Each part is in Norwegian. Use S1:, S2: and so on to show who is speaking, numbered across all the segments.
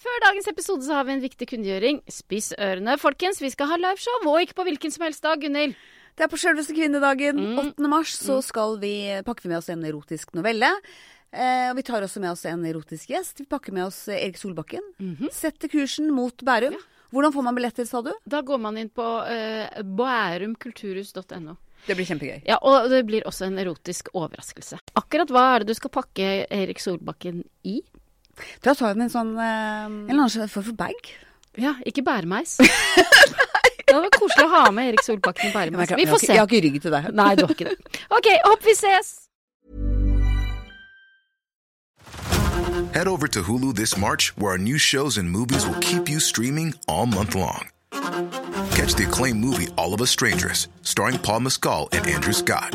S1: Før dagens episode så har vi en viktig kunngjøring. Spiss ørene, folkens. Vi skal ha liveshow, og ikke på hvilken som helst dag, Gunhild.
S2: Det er på selveste kvinnedagen.
S1: Mm.
S2: 8. mars så skal vi, eh, pakker vi med oss en erotisk novelle. Eh, og vi tar også med oss en erotisk gjest. Vi pakker med oss eh, Erik Solbakken. Setter kursen mot Bærum. Hvordan får man billetter, sa du?
S1: Da går man inn på eh, bærumkulturhus.no.
S2: Det blir kjempegøy.
S1: Ja, og det blir også en erotisk overraskelse. Akkurat hva er det du skal pakke Erik Solbakken i?
S2: Da tar vi med en sånn eh, En eller annen form for bag.
S1: Ja, ikke bæremeis. det var koselig å ha med Erik Solbakken i bæremeis. Vi får se.
S2: Jeg har ikke rygg til deg.
S1: Nei, du har ikke det. OK, håper vi ses!
S3: Head over to Hulu this March, where our new shows and movies will keep you streaming all month long. Catch the acclaimed movie All of Us Strangers, starring Paul Mescal and Andrew Scott.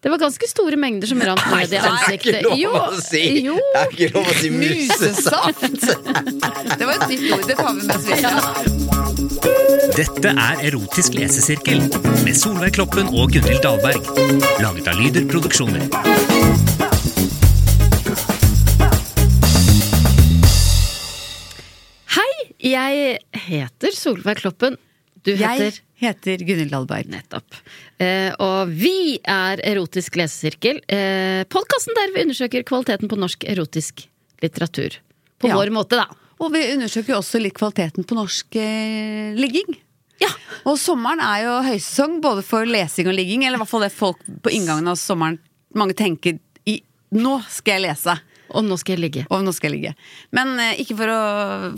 S1: Det var ganske store mengder som rant ned i ansiktet. Jo,
S4: Det er ikke lov å si
S2: Musesaft! det var et nytt ord. Det tar vi med oss videre.
S5: Dette er Erotisk lesesirkel med Solveig Kloppen og Gunhild Dahlberg. Laget av Lyder Produksjoner.
S1: Hei, jeg heter Solveig Kloppen. Du heter
S2: Jeg heter Gunhild Dahlberg.
S1: Nettopp. Eh, og vi er Erotisk lesesirkel. Eh, Podkasten der vi undersøker kvaliteten på norsk erotisk litteratur. På
S2: Ja.
S1: vår måte, da.
S2: Og vi undersøker jo også litt kvaliteten på norsk eh, ligging.
S1: Ja.
S2: Og sommeren er jo høysesong både for lesing og ligging, eller i hvert fall det folk på inngangen av sommeren mange tenker i Nå skal jeg lese!
S1: Og nå skal jeg ligge.
S2: Og nå skal jeg ligge. Men eh, ikke for å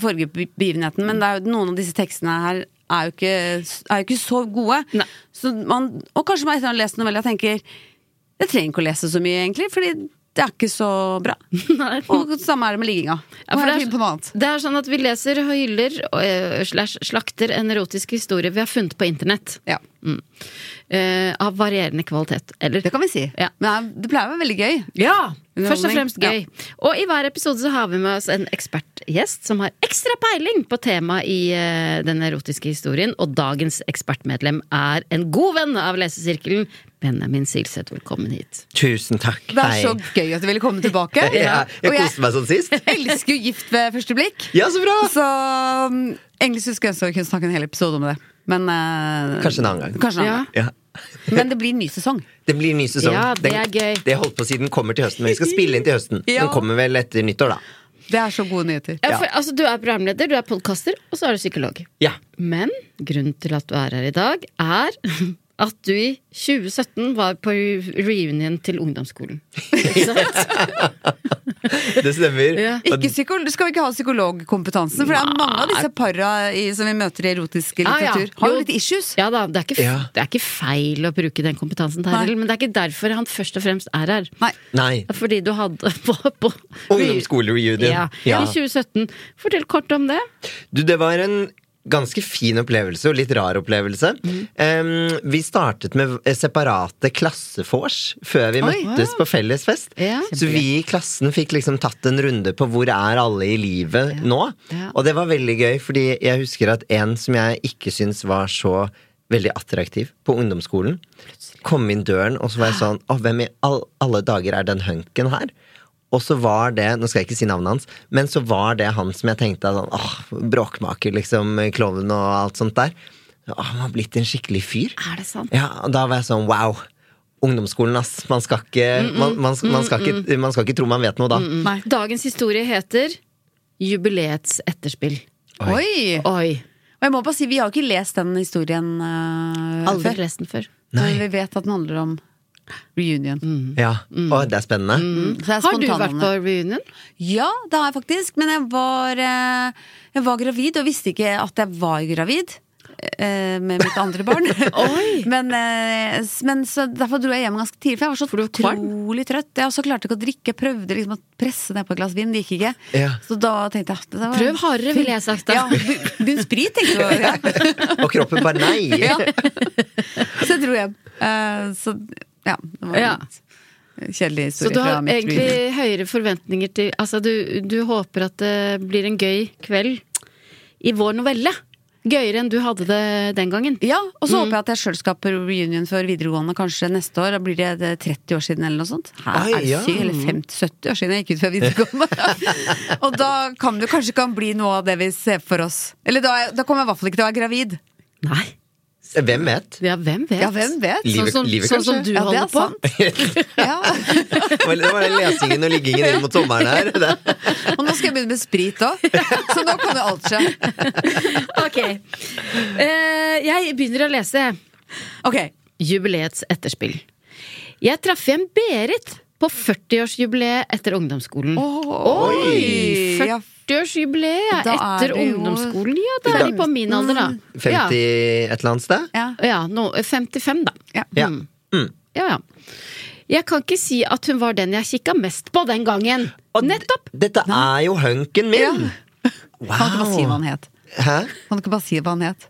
S2: foregripe be- begivenheten, men det er jo, noen av disse tekstene her er jo ikke, er jo ikke så gode.
S1: Nei.
S2: Så man, og kanskje man etter å ha lest novella tenker jeg trenger ikke å lese så mye, egentlig, fordi det er ikke så bra.
S1: Nei.
S2: Og samme er det med ligginga.
S1: Ja,
S2: Og
S1: for
S2: her
S1: det,
S2: er vi på noe
S1: er,
S2: annet.
S1: det er sånn at vi leser og hyller og, eh, slash slakter en erotisk historie vi har funnet på internett.
S2: Ja,
S1: Mm. Eh, av varierende kvalitet. Eller
S2: det kan vi si.
S1: Ja.
S2: Men det pleier å være veldig gøy.
S1: Ja! Først og
S2: Underholdning.
S1: fremst gøy. Og i hver episode så har vi med oss en ekspertgjest som har ekstra peiling på temaet i eh, den erotiske historien. Og dagens ekspertmedlem er en god venn av lesesirkelen. Benjamin Silseth, velkommen hit.
S4: Tusen takk.
S2: Det er så gøy at du ville komme tilbake.
S4: Hei. Ja, jeg
S2: og
S4: koste
S2: jeg
S4: meg sånn sist.
S2: elsker jo Gift ved første blikk.
S4: Ja, så bra!
S2: Så um, egentlig skulle jeg ønske jeg kunne snakke en hel episode om det. Men, eh,
S4: Kanskje en annen gang.
S2: Kanskje en
S1: Ja.
S2: annen
S4: Ja.
S2: gang. Men det blir ny sesong.
S4: Det blir ny sesong.
S1: Ja, det er gøy.
S4: Den, det holdt på siden kommer til høsten, men vi skal spille inn til høsten.
S2: Ja.
S4: Den kommer vel etter nyttår, da.
S2: Det er så gode nyheter.
S1: Ja, for, altså, du er programleder, du er podkaster, og så er du psykolog.
S4: Ja.
S1: Men grunnen til at du er her i dag, er at du i 2017 var på reunion til ungdomsskolen. Ikke sant?
S4: Det stemmer.
S1: Ja.
S4: Og
S2: Ikke psykol du skal jo ikke ha psykologkompetansen, for det er mange av disse para i, som vi møter i erotiske
S1: Ah, Ja, ja.
S2: litteratur, har jo
S1: Jo.
S2: litt issues.
S1: Ja da, det er, ikke,
S4: Ja.
S1: det er ikke feil å bruke den kompetansen der
S2: Nei.
S1: heller, men det er ikke derfor han først og fremst er her.
S2: Nei.
S4: Nei.
S1: Det er Fordi du hadde på, på
S4: Ungdomsskolereunion.
S1: Ja,
S4: Ja.
S1: I 2017. Fortell kort om det.
S4: Du, det var en ganske fin opplevelse, og litt rar opplevelse.
S1: Mm.
S4: Em, vi startet med eh, separate klassefors før vi
S2: Oi.
S4: møttes på fellesfest.
S1: Ja.
S4: Så vi i klassen fikk liksom tatt en runde på hvor er alle i livet nå.
S1: Ja.
S4: Og det var veldig gøy, fordi jeg husker at en som jeg ikke syns var så veldig attraktiv på ungdomsskolen, kom inn døren, og så var jeg sånn Å, hvem i all, alle dager er den hunken her? Og så var det, nå skal jeg ikke si navnet hans, men så var det han som jeg tenkte sånn, åh, bråkmaker, liksom, klovn og alt sånt der. Åh, han har blitt en skikkelig fyr.
S1: Er det sant?
S4: Ja, og da var jeg sånn wow. Ungdomsskolen, ass. Man skal ikke, man, man, man skal ikke, man skal ikke tro man vet noe da.
S1: Mm.
S2: Nei.
S1: Dagens historie heter Jubileets etterspill.
S2: Oi!
S1: Oi.
S2: Og jeg må bare si, vi har ikke lest den historien eh,
S1: Aldri
S2: før.
S1: lest den før.
S2: Men
S4: Nei.
S2: vi vet at den handler om reunion.
S4: Ja. Å, det er spennende.
S2: Så det er
S1: Mm. Har du
S2: spontanene.
S1: vært på reunion?
S2: Ja, det har jeg faktisk. Men jeg var, eh, jeg var gravid og visste ikke at jeg var gravid. eh, Med mitt andre barn.
S1: Oi.
S2: men, eh, s- men så derfor dro jeg hjem ganske tidlig, for jeg var så
S1: du var kvalm?
S2: utrolig trøtt. Jeg også klarte ikke å drikke. Jeg prøvde liksom å presse ned på et glass vin, det gikk ikke.
S4: Ja.
S2: Så da tenkte jeg at det var-
S1: Prøv hardere, ville jeg sagt da.
S2: Ja, be- begynn sprit, tenkte jeg. Ja.
S4: Og kroppen bare nei!
S2: Ja. Så jeg dro hjem. Eh, Så ja. Det var
S1: Ja.
S2: en kjedelig
S1: Så
S2: historie
S1: du har
S2: fra mitt
S1: egentlig
S2: reunion.
S1: høyere forventninger til Altså, du, du håper at det blir en gøy kveld i vår novelle. Gøyere enn du hadde det den gangen.
S2: Ja, og
S1: Mm.
S2: så håper jeg at jeg sjøl skaper reunion for videregående kanskje neste år. Da blir det det 30 år siden eller noe sånt. Her
S4: Oi,
S2: er det
S4: ja.
S2: syv, eller 50, 70 år siden jeg gikk ut fra videregående. og da kan det kanskje kan bli noe av det vi ser for oss. Eller da, er- da kommer jeg i hvert fall ikke til å være gravid.
S1: Nei.
S4: Hvem vet?
S1: Ja, hvem vet?
S2: Ja, hvem vet?
S4: Livet-
S1: Sånn som,
S4: livet
S1: sånn som
S4: kanskje?
S1: du
S2: Ja, det
S1: holder
S2: er
S1: på.
S2: sant. Ja.
S4: Vel, Det var den lesingen og liggingen inn mot sommeren her. Det.
S2: Og nå skal jeg begynne med sprit òg, så nå kan jo alt skje.
S1: Ok. Eh, jeg begynner å lese.
S2: Ok,
S1: Jubileets etterspill. Jeg traff igjen Berit på 40-årsjubileet etter ungdomsskolen. Oi!
S2: ja.
S1: 40-årsjubileet ja,
S2: Da er
S1: etter
S2: det jo-
S1: ungdomsskolen. Ja, da er de
S4: Mm.
S1: på min alder, da.
S4: 50
S1: Ja.
S4: et eller annet sted?
S2: Ja.
S1: Ja, nå, 55 da. Mm.
S2: Ja.
S4: Ja. Mm.
S1: Ja, ja. Jeg kan ikke si at hun var den jeg kikka mest på den gangen. Nettopp!
S4: Dette er jo hunken min!
S2: Ja. Kan ikke bare si hva han het.
S4: Hæ?
S2: Kan ikke bare si hva han het.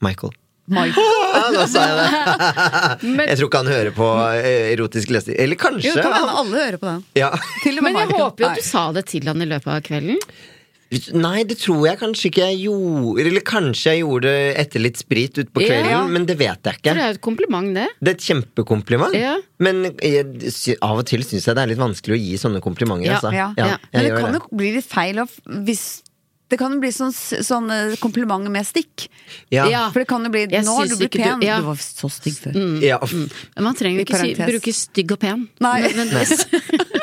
S4: Michael.
S2: Michael.
S4: Ja, nå sa jeg det.
S1: Men,
S4: Jeg tror ikke han hører på eh, erotisk lesning. Eller kanskje.
S2: Jo, det kan hende
S4: han-
S2: alle hører på den.
S4: Ja.
S2: Til og med
S1: men jeg
S2: Michael.
S1: håper jo at
S2: Nei.
S1: du sa det til han i løpet av kvelden.
S4: Nei, det tror jeg kanskje ikke jeg gjorde. Eller kanskje jeg gjorde det etter litt sprit utpå
S1: Ja.
S4: kvelden, men det vet jeg
S1: For det
S4: ikke.
S1: er jo et kompliment, det.
S4: Det er et kjempekompliment,
S1: Ja.
S4: men jeg, sy- av og til syns jeg det er litt vanskelig å gi sånne komplimenter.
S1: Ja,
S4: altså.
S2: Ja.
S1: ja.
S4: jeg
S2: Men det
S4: gjør
S2: kan
S4: det.
S2: jo bli litt feil av- hvis Det kan jo bli sånn, sånn eh, kompliment med stikk.
S4: Ja.
S1: Ja.
S2: For det kan jo bli
S1: Jeg
S2: 'nå har du
S1: syns
S2: blitt
S1: ikke du-
S2: pen'.
S1: ja. Mm.
S2: Du var så stygg før.
S4: Ja.
S1: Men man trenger
S2: I
S1: jo ikke si,
S2: parentes.
S1: bruke stygg og pen.
S2: Nei.
S1: nødvendigvis.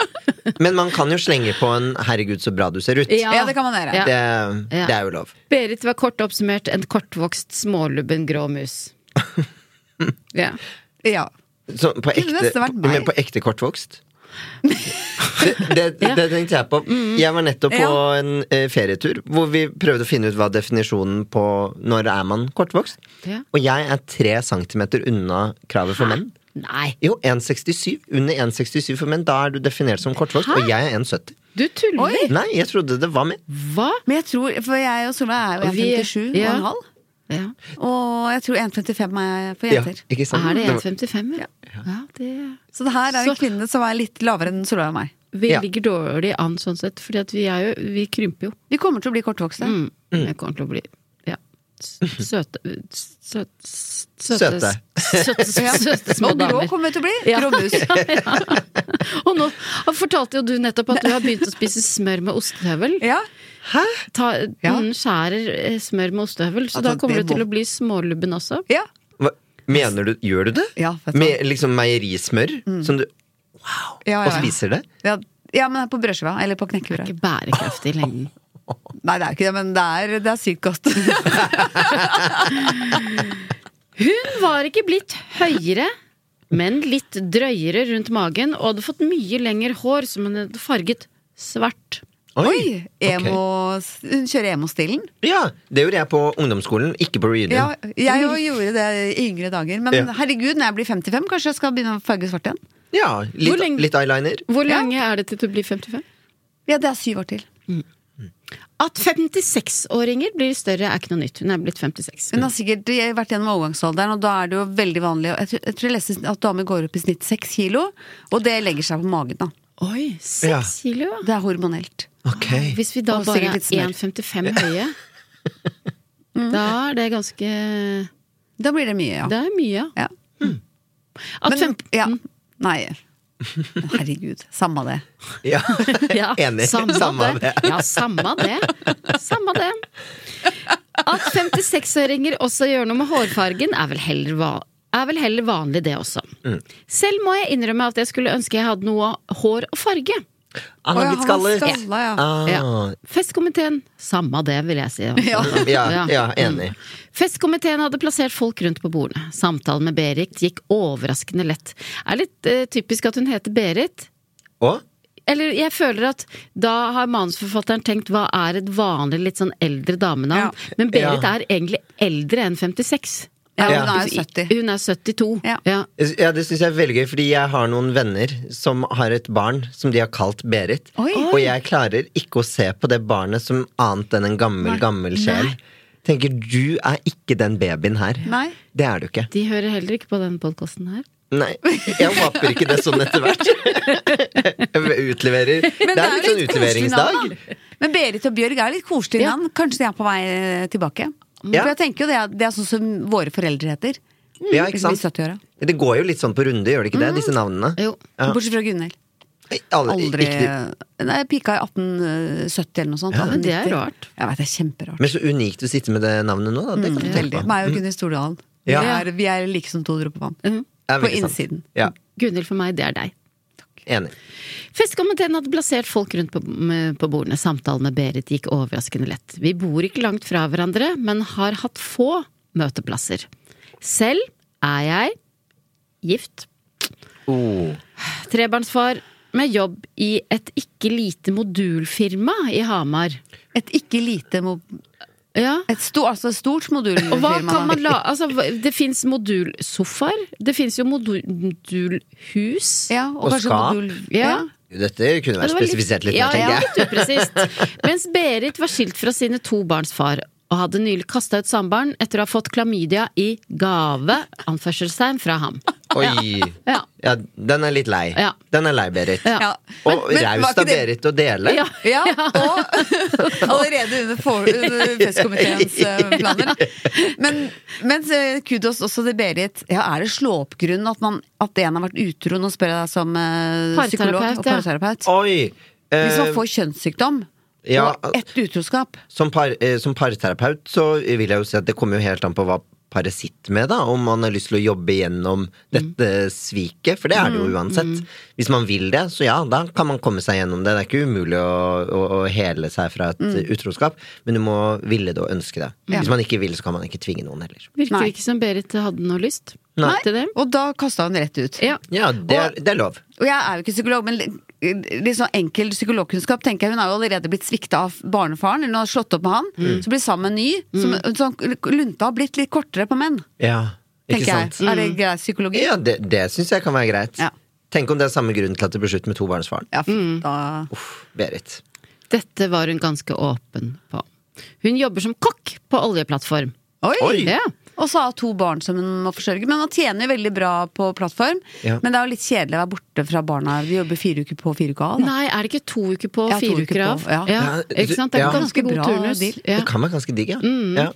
S4: Men man kan jo slenge på en 'herregud, så bra du ser ut'.
S2: Ja, det kan man gjøre.
S1: Ja.
S4: Det,
S1: Ja.
S4: det er jo lov.
S1: Berit var kort oppsummert en kortvokst, smålubben grå mus. Ja.
S2: Ja.
S4: Så på
S2: Kunne
S4: ekte,
S2: nesten vært meg.
S4: men på ekte kortvokst? Det, det, det tenkte jeg på. Jeg var nettopp på
S2: Mm. Ja.
S4: en eh, ferietur hvor vi prøvde å finne ut hva definisjonen på når er man kortvokst.
S1: Ja.
S4: Og jeg er tre centimeter unna kravet for menn.
S1: Nei,
S4: Jo, 1,67. Under 1,67 for menn. Da er du definert som kortvokst, og jeg er 1,70.
S1: du tuller!
S4: Nei, jeg trodde det var med.
S1: Hva?
S2: Men jeg tror For jeg og Solveig er
S1: Og vi-
S2: jo 1,57
S1: ja.
S2: og en halv.
S1: Ja.
S2: Og jeg tror 1,55 er for
S4: Ja,
S2: jenter.
S4: ikke sant?
S1: Er det
S4: Sånn. Det var-
S1: 1,55? Ja. ja, det
S2: Så det her er en
S1: Så-
S2: kvinne som er litt lavere enn Solveig og meg.
S1: Vi
S4: Ja.
S1: ligger dårlig an sånn sett, fordi at vi er jo Vi krymper jo.
S2: Vi kommer til å bli kortvokste.
S1: Mm.
S4: Mm.
S1: Jeg kommer til å bli ja. s- Søte Søte Søte,
S4: Søte.
S1: søte,
S2: Ja.
S1: søte små
S2: Og grå
S1: damer.
S2: kommer vi til å bli.
S1: Ja.
S2: Gråmus.
S1: Og nå fortalte jo du nettopp at du har begynt å spise smør med ostehøvel.
S2: Ja.
S1: Ta,
S2: Ja.
S1: den skjærer eh, smør med ostehøvel, så
S2: Altså,
S1: da kommer
S2: det
S1: du til
S2: må-
S1: å bli smålubben også.
S2: Ja.
S4: Hva, mener du Gjør du det?
S2: Ja, vet du hva.
S4: Med liksom meierismør? Som du
S2: Ja, ja,
S4: Og
S2: ja.
S4: spiser det?
S2: Ja, ja, men det er på brødskiva. Eller på knekkebrød.
S1: Ikke bærekraftig i lengden.
S2: Nei, det er ikke det, men det er, det er sykt godt.
S1: Hun var ikke blitt høyere, men litt drøyere rundt magen, og hadde fått mye lengre hår som hun hadde farget svart.
S2: Oi! Emo,
S4: ok.
S2: Hun kjører emo-stilen.
S4: Ja, det gjorde jeg på ungdomsskolen, ikke på reunion.
S2: Ja, jeg jo gjorde det i yngre dager. Men
S4: Ja.
S2: herregud, når jeg blir 55, kanskje jeg skal begynne å farge svart igjen?
S4: Ja,
S1: Hvor
S4: litt,
S1: lenge-
S4: litt eyeliner.
S1: Hvor
S2: Ja.
S1: lenge er det til du blir 55?
S2: Ja, det er syv år til.
S1: At 56-åringer blir større er ikke noe nytt. Hun er blitt 56.
S2: Hun har sikkert vært gjennom overgangsalderen, og da er det jo veldig vanlig Jeg tror jeg, tror jeg leste at damer går opp i snitt seks kilo, og det legger seg på magen, da.
S1: Oi,
S4: Ja.
S1: seks kilo, ja.
S2: Det er hormonelt.
S4: Ok.
S1: Hvis vi da
S2: Og
S1: bare
S2: sikkert
S1: er
S2: litt smør.
S1: 1,55 høye, da er det ganske
S2: Da blir det mye, ja.
S1: Det er mye, ja.
S2: ja.
S1: At
S2: Men,
S1: fem,
S2: ja. Nei. Herregud. Samme det.
S4: Ja.
S1: ja,
S4: Enig.
S1: Samme,
S4: Samme
S1: det.
S4: det.
S1: Ja, samme det. Samme det. At 56-åringer også gjør noe med hårfargen, er vel heller va- er vel heller vanlig, det også. Selv må jeg innrømme at jeg skulle ønske jeg hadde noe hår og farge.
S4: Ah,
S2: Å,
S4: han
S2: ja,
S4: er blitt
S2: han var
S4: skallet!
S2: skalla, ja.
S4: Ah,
S1: Ja. Festkomiteen, samme det, vil jeg si. altså.
S2: Ja.
S4: Ja, ja, enig.
S1: Mm. Festkomiteen hadde plassert folk rundt på bordene. Samtalen med Berit gikk overraskende lett. Er litt eh, typisk at hun heter Berit.
S4: Og
S1: Eller jeg føler at da har manusforfatteren tenkt hva er et vanlig litt sånn eldre damenavn?
S2: Ja.
S1: Men Berit
S4: Ja.
S1: er egentlig eldre enn 56.
S2: Ja,
S4: Ja.
S2: hun er jo 70.
S1: Hun er 72.
S2: Ja.
S1: Ja.
S4: Ja, det syns jeg er veldig gøy, fordi jeg har noen venner som har et barn som de har kalt Berit.
S2: Oi.
S4: Og jeg klarer ikke å se på det barnet som annet enn en gammel, gammel sjel. Tenker du er ikke den babyen her.
S2: Nei.
S4: Det er du ikke.
S1: De hører heller ikke på denne podkasten her.
S4: Nei, jeg håper ikke det er sånn etter hvert. Jeg Utleverer. det er litt sånn
S2: litt koselig
S4: utleveringsdag.
S2: navn, da. Men Berit og Bjørg er litt koselige
S1: Ja.
S2: navn. Kanskje de er på vei eh, tilbake.
S4: Ja.
S2: For jeg tenker jo det er, det er sånn som våre foreldre heter.
S4: Ja, ikke
S2: Liksom i
S4: sant?
S2: 70-åra.
S4: Det går jo litt sånn på runde, gjør det ikke det? Disse navnene.
S1: Jo.
S4: Ja.
S2: Bortsett fra Gunhild.
S4: Alle-
S2: Aldri
S4: ikke-
S2: Nei, pika i 1870 eller noe sånt.
S1: men det er
S2: 1890.
S1: rart.
S2: Jeg vet, det er kjemperart.
S4: Men så unikt å sitte med det navnet nå, da. Det kan du tenke
S2: Mm. Veldig.
S4: på.
S2: Meg og Gunhild Stordalen.
S4: Ja.
S2: Vi, er, vi er like som to druer på vann.
S4: Ja,
S2: På
S4: veldig sant.
S2: innsiden.
S4: Ja,
S1: Gunhild, for meg, det er deg.
S4: enig.
S1: Festkomiteen hadde plassert folk rundt på, m- på bordene. Samtalen med Berit gikk overraskende lett. Vi bor ikke langt fra hverandre, men har hatt få møteplasser. Selv er jeg gift.
S4: Oh.
S1: Trebarnsfar med jobb i et ikke lite modulfirma i Hamar.
S2: Et ikke lite mo
S1: Ja.
S2: Et sto, altså et stort modulfirma.
S1: Og hva kan man
S2: da.
S1: la Altså, hva- det fins modulsofaer. Det fins jo modu- modulhus.
S2: Ja, og,
S4: Og
S2: kanskje
S4: skap.
S2: modul...
S1: Ja.
S4: Dette kunne
S1: Ja,
S4: vært
S1: det var
S4: spesifisert litt
S1: ja,
S4: mer, tenker
S1: ja,
S4: jeg.
S1: litt upresist. Mens Berit var skilt fra sine to barns far og hadde nylig kasta ut samboeren etter å ha fått klamydia i gave anførselstegn fra ham.
S4: Oi.
S1: Ja.
S4: Ja, den er litt lei.
S1: Ja.
S4: Den er lei, Berit.
S1: Ja.
S2: Ja.
S4: Og
S2: Men- men var
S4: raust
S2: ikke
S4: av
S2: det-
S4: Berit å dele.
S1: Ja.
S2: Ja, og allerede under, for, under festkomiteens eh, planer. Men mens eh, kudos også til Berit. Ja, er det slå-opp-grunn at, man- at en har vært utro? Nå spør jeg deg som eh, psykolog
S1: Parterapeut,
S2: og
S1: ja.
S2: parterapeut.
S4: Oi! eh,
S2: Hvis man får kjønnssykdom
S4: ja.
S2: og ett utroskap
S4: som, par, eh, som parterapeut så vil jeg jo si at det kommer jo helt an på hva paret sitter med, da. Om man har lyst til å jobbe gjennom dette sviket, for det er det
S2: Mm,
S4: jo uansett. Hvis man vil det, så ja, da kan man komme seg gjennom det. Det er ikke umulig å, å, å hele seg fra et
S2: Mm.
S4: eh, utroskap, men du må ville det og ønske det. Hvis man ikke vil, så kan man ikke tvinge noen heller.
S1: Virker
S2: Nei.
S1: ikke som Berit hadde noe lyst
S4: Nei.
S1: til det.
S2: Og da kasta hun rett ut.
S1: Ja.
S4: Ja, det er, det er lov.
S2: Og jeg er jo ikke psykolog, men li- litt sånn enkel psykologkunnskap tenker jeg. Hun har jo allerede blitt svikta av barnefaren, eller hun har slått opp med han.
S4: Mm.
S2: Så blir sammen med en ny. Som, sånn, lunta har blitt litt kortere på menn,
S4: Ja, ikke
S2: tenker jeg.
S4: sant?
S2: Er det
S1: Mm.
S2: grei psykologi?
S4: Ja, det, det syns jeg kan være greit.
S2: Ja.
S4: Tenk om det er samme grunn til at det ble slutt med tobarnsfaren.
S2: Ja, fy,
S1: Mm.
S2: da
S4: Uff, Berit.
S1: Dette var hun ganske åpen på. Hun jobber som kokk på oljeplattform.
S2: Oi!
S4: Oi.
S1: Ja.
S2: Og så har hun to barn som hun må forsørge. Men hun tjener jo veldig bra på plattform.
S4: Ja.
S2: Men det er jo litt kjedelig å være borte fra barna. De jobber fire uker på, fire uker av. Da.
S1: Nei, er det ikke to uker på,
S2: Ja, to
S1: fire
S2: uker
S1: uker
S2: på,
S1: av?
S2: ja.
S4: Ja, du-
S1: Ikke sant? Det er
S4: ja.
S1: ganske god
S2: Bra
S1: turnus.
S2: deal.
S1: Ja.
S4: Det kan være ganske digg, ja. ja.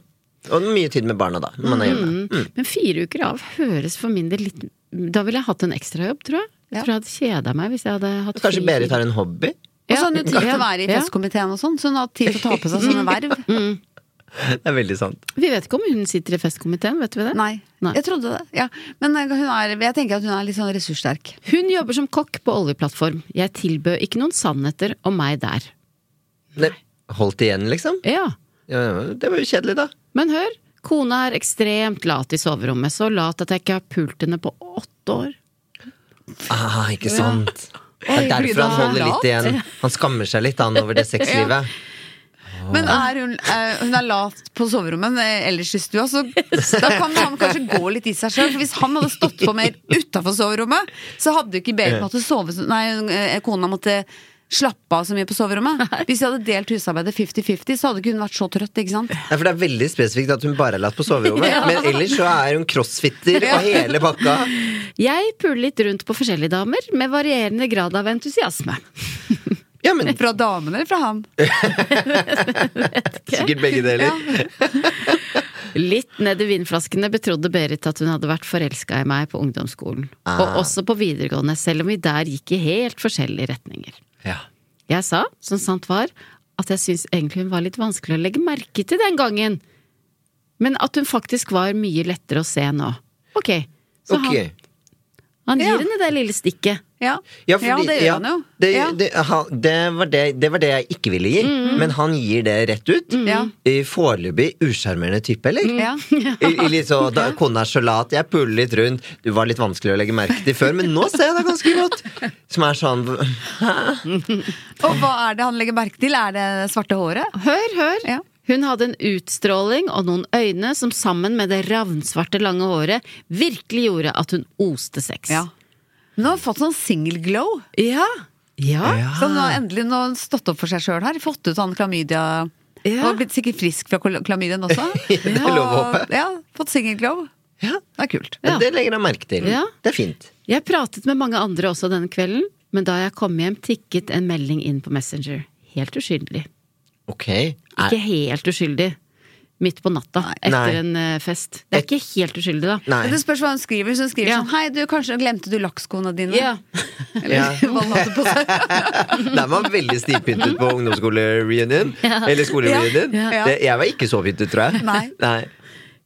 S4: Og mye tid med barna, da. Når man er hjemme.
S1: Men fire uker av høres for min del litt Da ville jeg hatt en ekstrajobb, tror jeg. Jeg
S2: Ja.
S1: tror jeg hadde kjeda meg hvis jeg hadde hatt
S4: Kanskje
S1: fri.
S4: Berit har en hobby?
S2: Og så har hun jo tid til å være i
S1: Ja. Mm.
S2: festkomiteen og sånn, så hun har hatt tid til å ta på seg sånne verv.
S4: Det er veldig sant.
S1: Vi vet ikke om hun sitter i festkomiteen, vet vi det?
S2: Nei. Jeg trodde det. Ja. Men eh, hun er, jeg tenker at hun er litt sånn ressurssterk.
S1: Hun jobber som kokk på oljeplattform. Jeg tilbød ikke noen sannheter om meg der.
S4: Nei. Holdt igjen, liksom?
S1: Ja,
S4: Ja, ja, det var jo kjedelig, da.
S1: men hør. Kona er ekstremt lat i soverommet. Så lat at jeg ikke har pult henne på åtte år.
S4: Ah, ikke sant. Det
S2: Oi,
S4: er
S2: fordi
S4: derfor han
S2: da er
S4: holder
S2: lat.
S4: litt igjen. Han skammer seg litt han, over det sexlivet.
S1: Ah.
S2: Men er hun, eh, hun er lat på soverommet, men eh, ellers i stua, så da kan han kanskje gå litt i seg sjøl. For hvis han hadde stått på mer utafor soverommet, så hadde jo ikke Berit måttet sove så- Nei, hun, eh, kona måtte slappe av så mye på soverommet. Hvis de hadde delt husarbeidet 50-50, så hadde ikke hun vært så trøtt, ikke sant?
S4: Nei, for Det er veldig spesifikt at hun bare er latt på soverommet. Men ellers så er hun crossfitter og hele pakka.
S1: Jeg puler litt rundt på forskjellige damer, med varierende grad av entusiasme.
S4: Ja, men
S2: Fra damen eller fra han?
S4: sikkert begge deler.
S1: Litt ned i vinflaskene betrodde Berit at hun hadde vært forelska i meg på ungdomsskolen. Og også på videregående, selv om vi der gikk i helt forskjellige retninger.
S4: Ja.
S1: Jeg sa, som sant var, at jeg syns egentlig hun var litt vanskelig å legge merke til den gangen. Men at hun faktisk var mye lettere å se nå. Ok. Så
S4: Ok.
S1: han, Han gir
S2: Ja.
S1: henne det lille stikket.
S2: Ja,
S4: Ja, fordi,
S2: ja det gjør
S4: ja,
S2: han jo.
S4: Det,
S2: ja. Mm.
S4: det, han, det, var det, det var det jeg ikke ville gi, men han gir det rett ut.
S2: Ja. Mm.
S4: I Foreløpig usjarmerende type, eller?
S2: Ja.
S4: I, i litt så, da, kona er så lat, jeg puller litt rundt. Du var litt vanskelig å legge merke til før, men nå ser jeg deg ganske godt! Som er sånn
S2: Og hva er det han legger merke til? Er det svarte håret?
S1: Hør, hør!
S2: Ja.
S1: Hun hadde en utstråling og noen øyne som sammen med det ravnsvarte, lange håret virkelig gjorde at hun oste sex.
S2: Ja. Nå har han fått sånn single glow.
S1: Ja! Ja.
S2: Så nå
S1: Ah.
S2: har endelig nå har han stått opp for seg sjøl her. Fått ut han klamydia.
S1: Ja.
S2: Og blitt sikkert frisk fra kol- klamydien også.
S4: Det er lov å håpe.
S2: Og- Ja, fått single glow.
S4: Ja,
S2: Det er kult.
S1: Ja.
S4: Det legger jeg merke til.
S1: Ja.
S4: Det er fint.
S1: Jeg pratet med mange andre også denne kvelden, men da jeg kom hjem, tikket en melding inn på Messenger. Helt uskyldig.
S4: Ok.
S1: Ikke
S4: Er,
S1: helt uskyldig. Midt på natta
S4: Nei.
S1: etter en eh, fest. Det er ikke helt uskyldig, da.
S4: nei.
S2: Men det spørs hva han skriver. Så han skriver
S1: Ja.
S2: sånn Hei, du, kanskje glemte du lakkskoene dine?
S1: Ja.
S4: Ja.
S2: Eller hva han hadde på seg.
S4: Der var man veldig stivpyntet på ungdomsskolereunion. Eller skolereunion.
S2: Ja, ja.
S4: Det- Jeg var ikke så pyntet, tror jeg.
S2: Nei.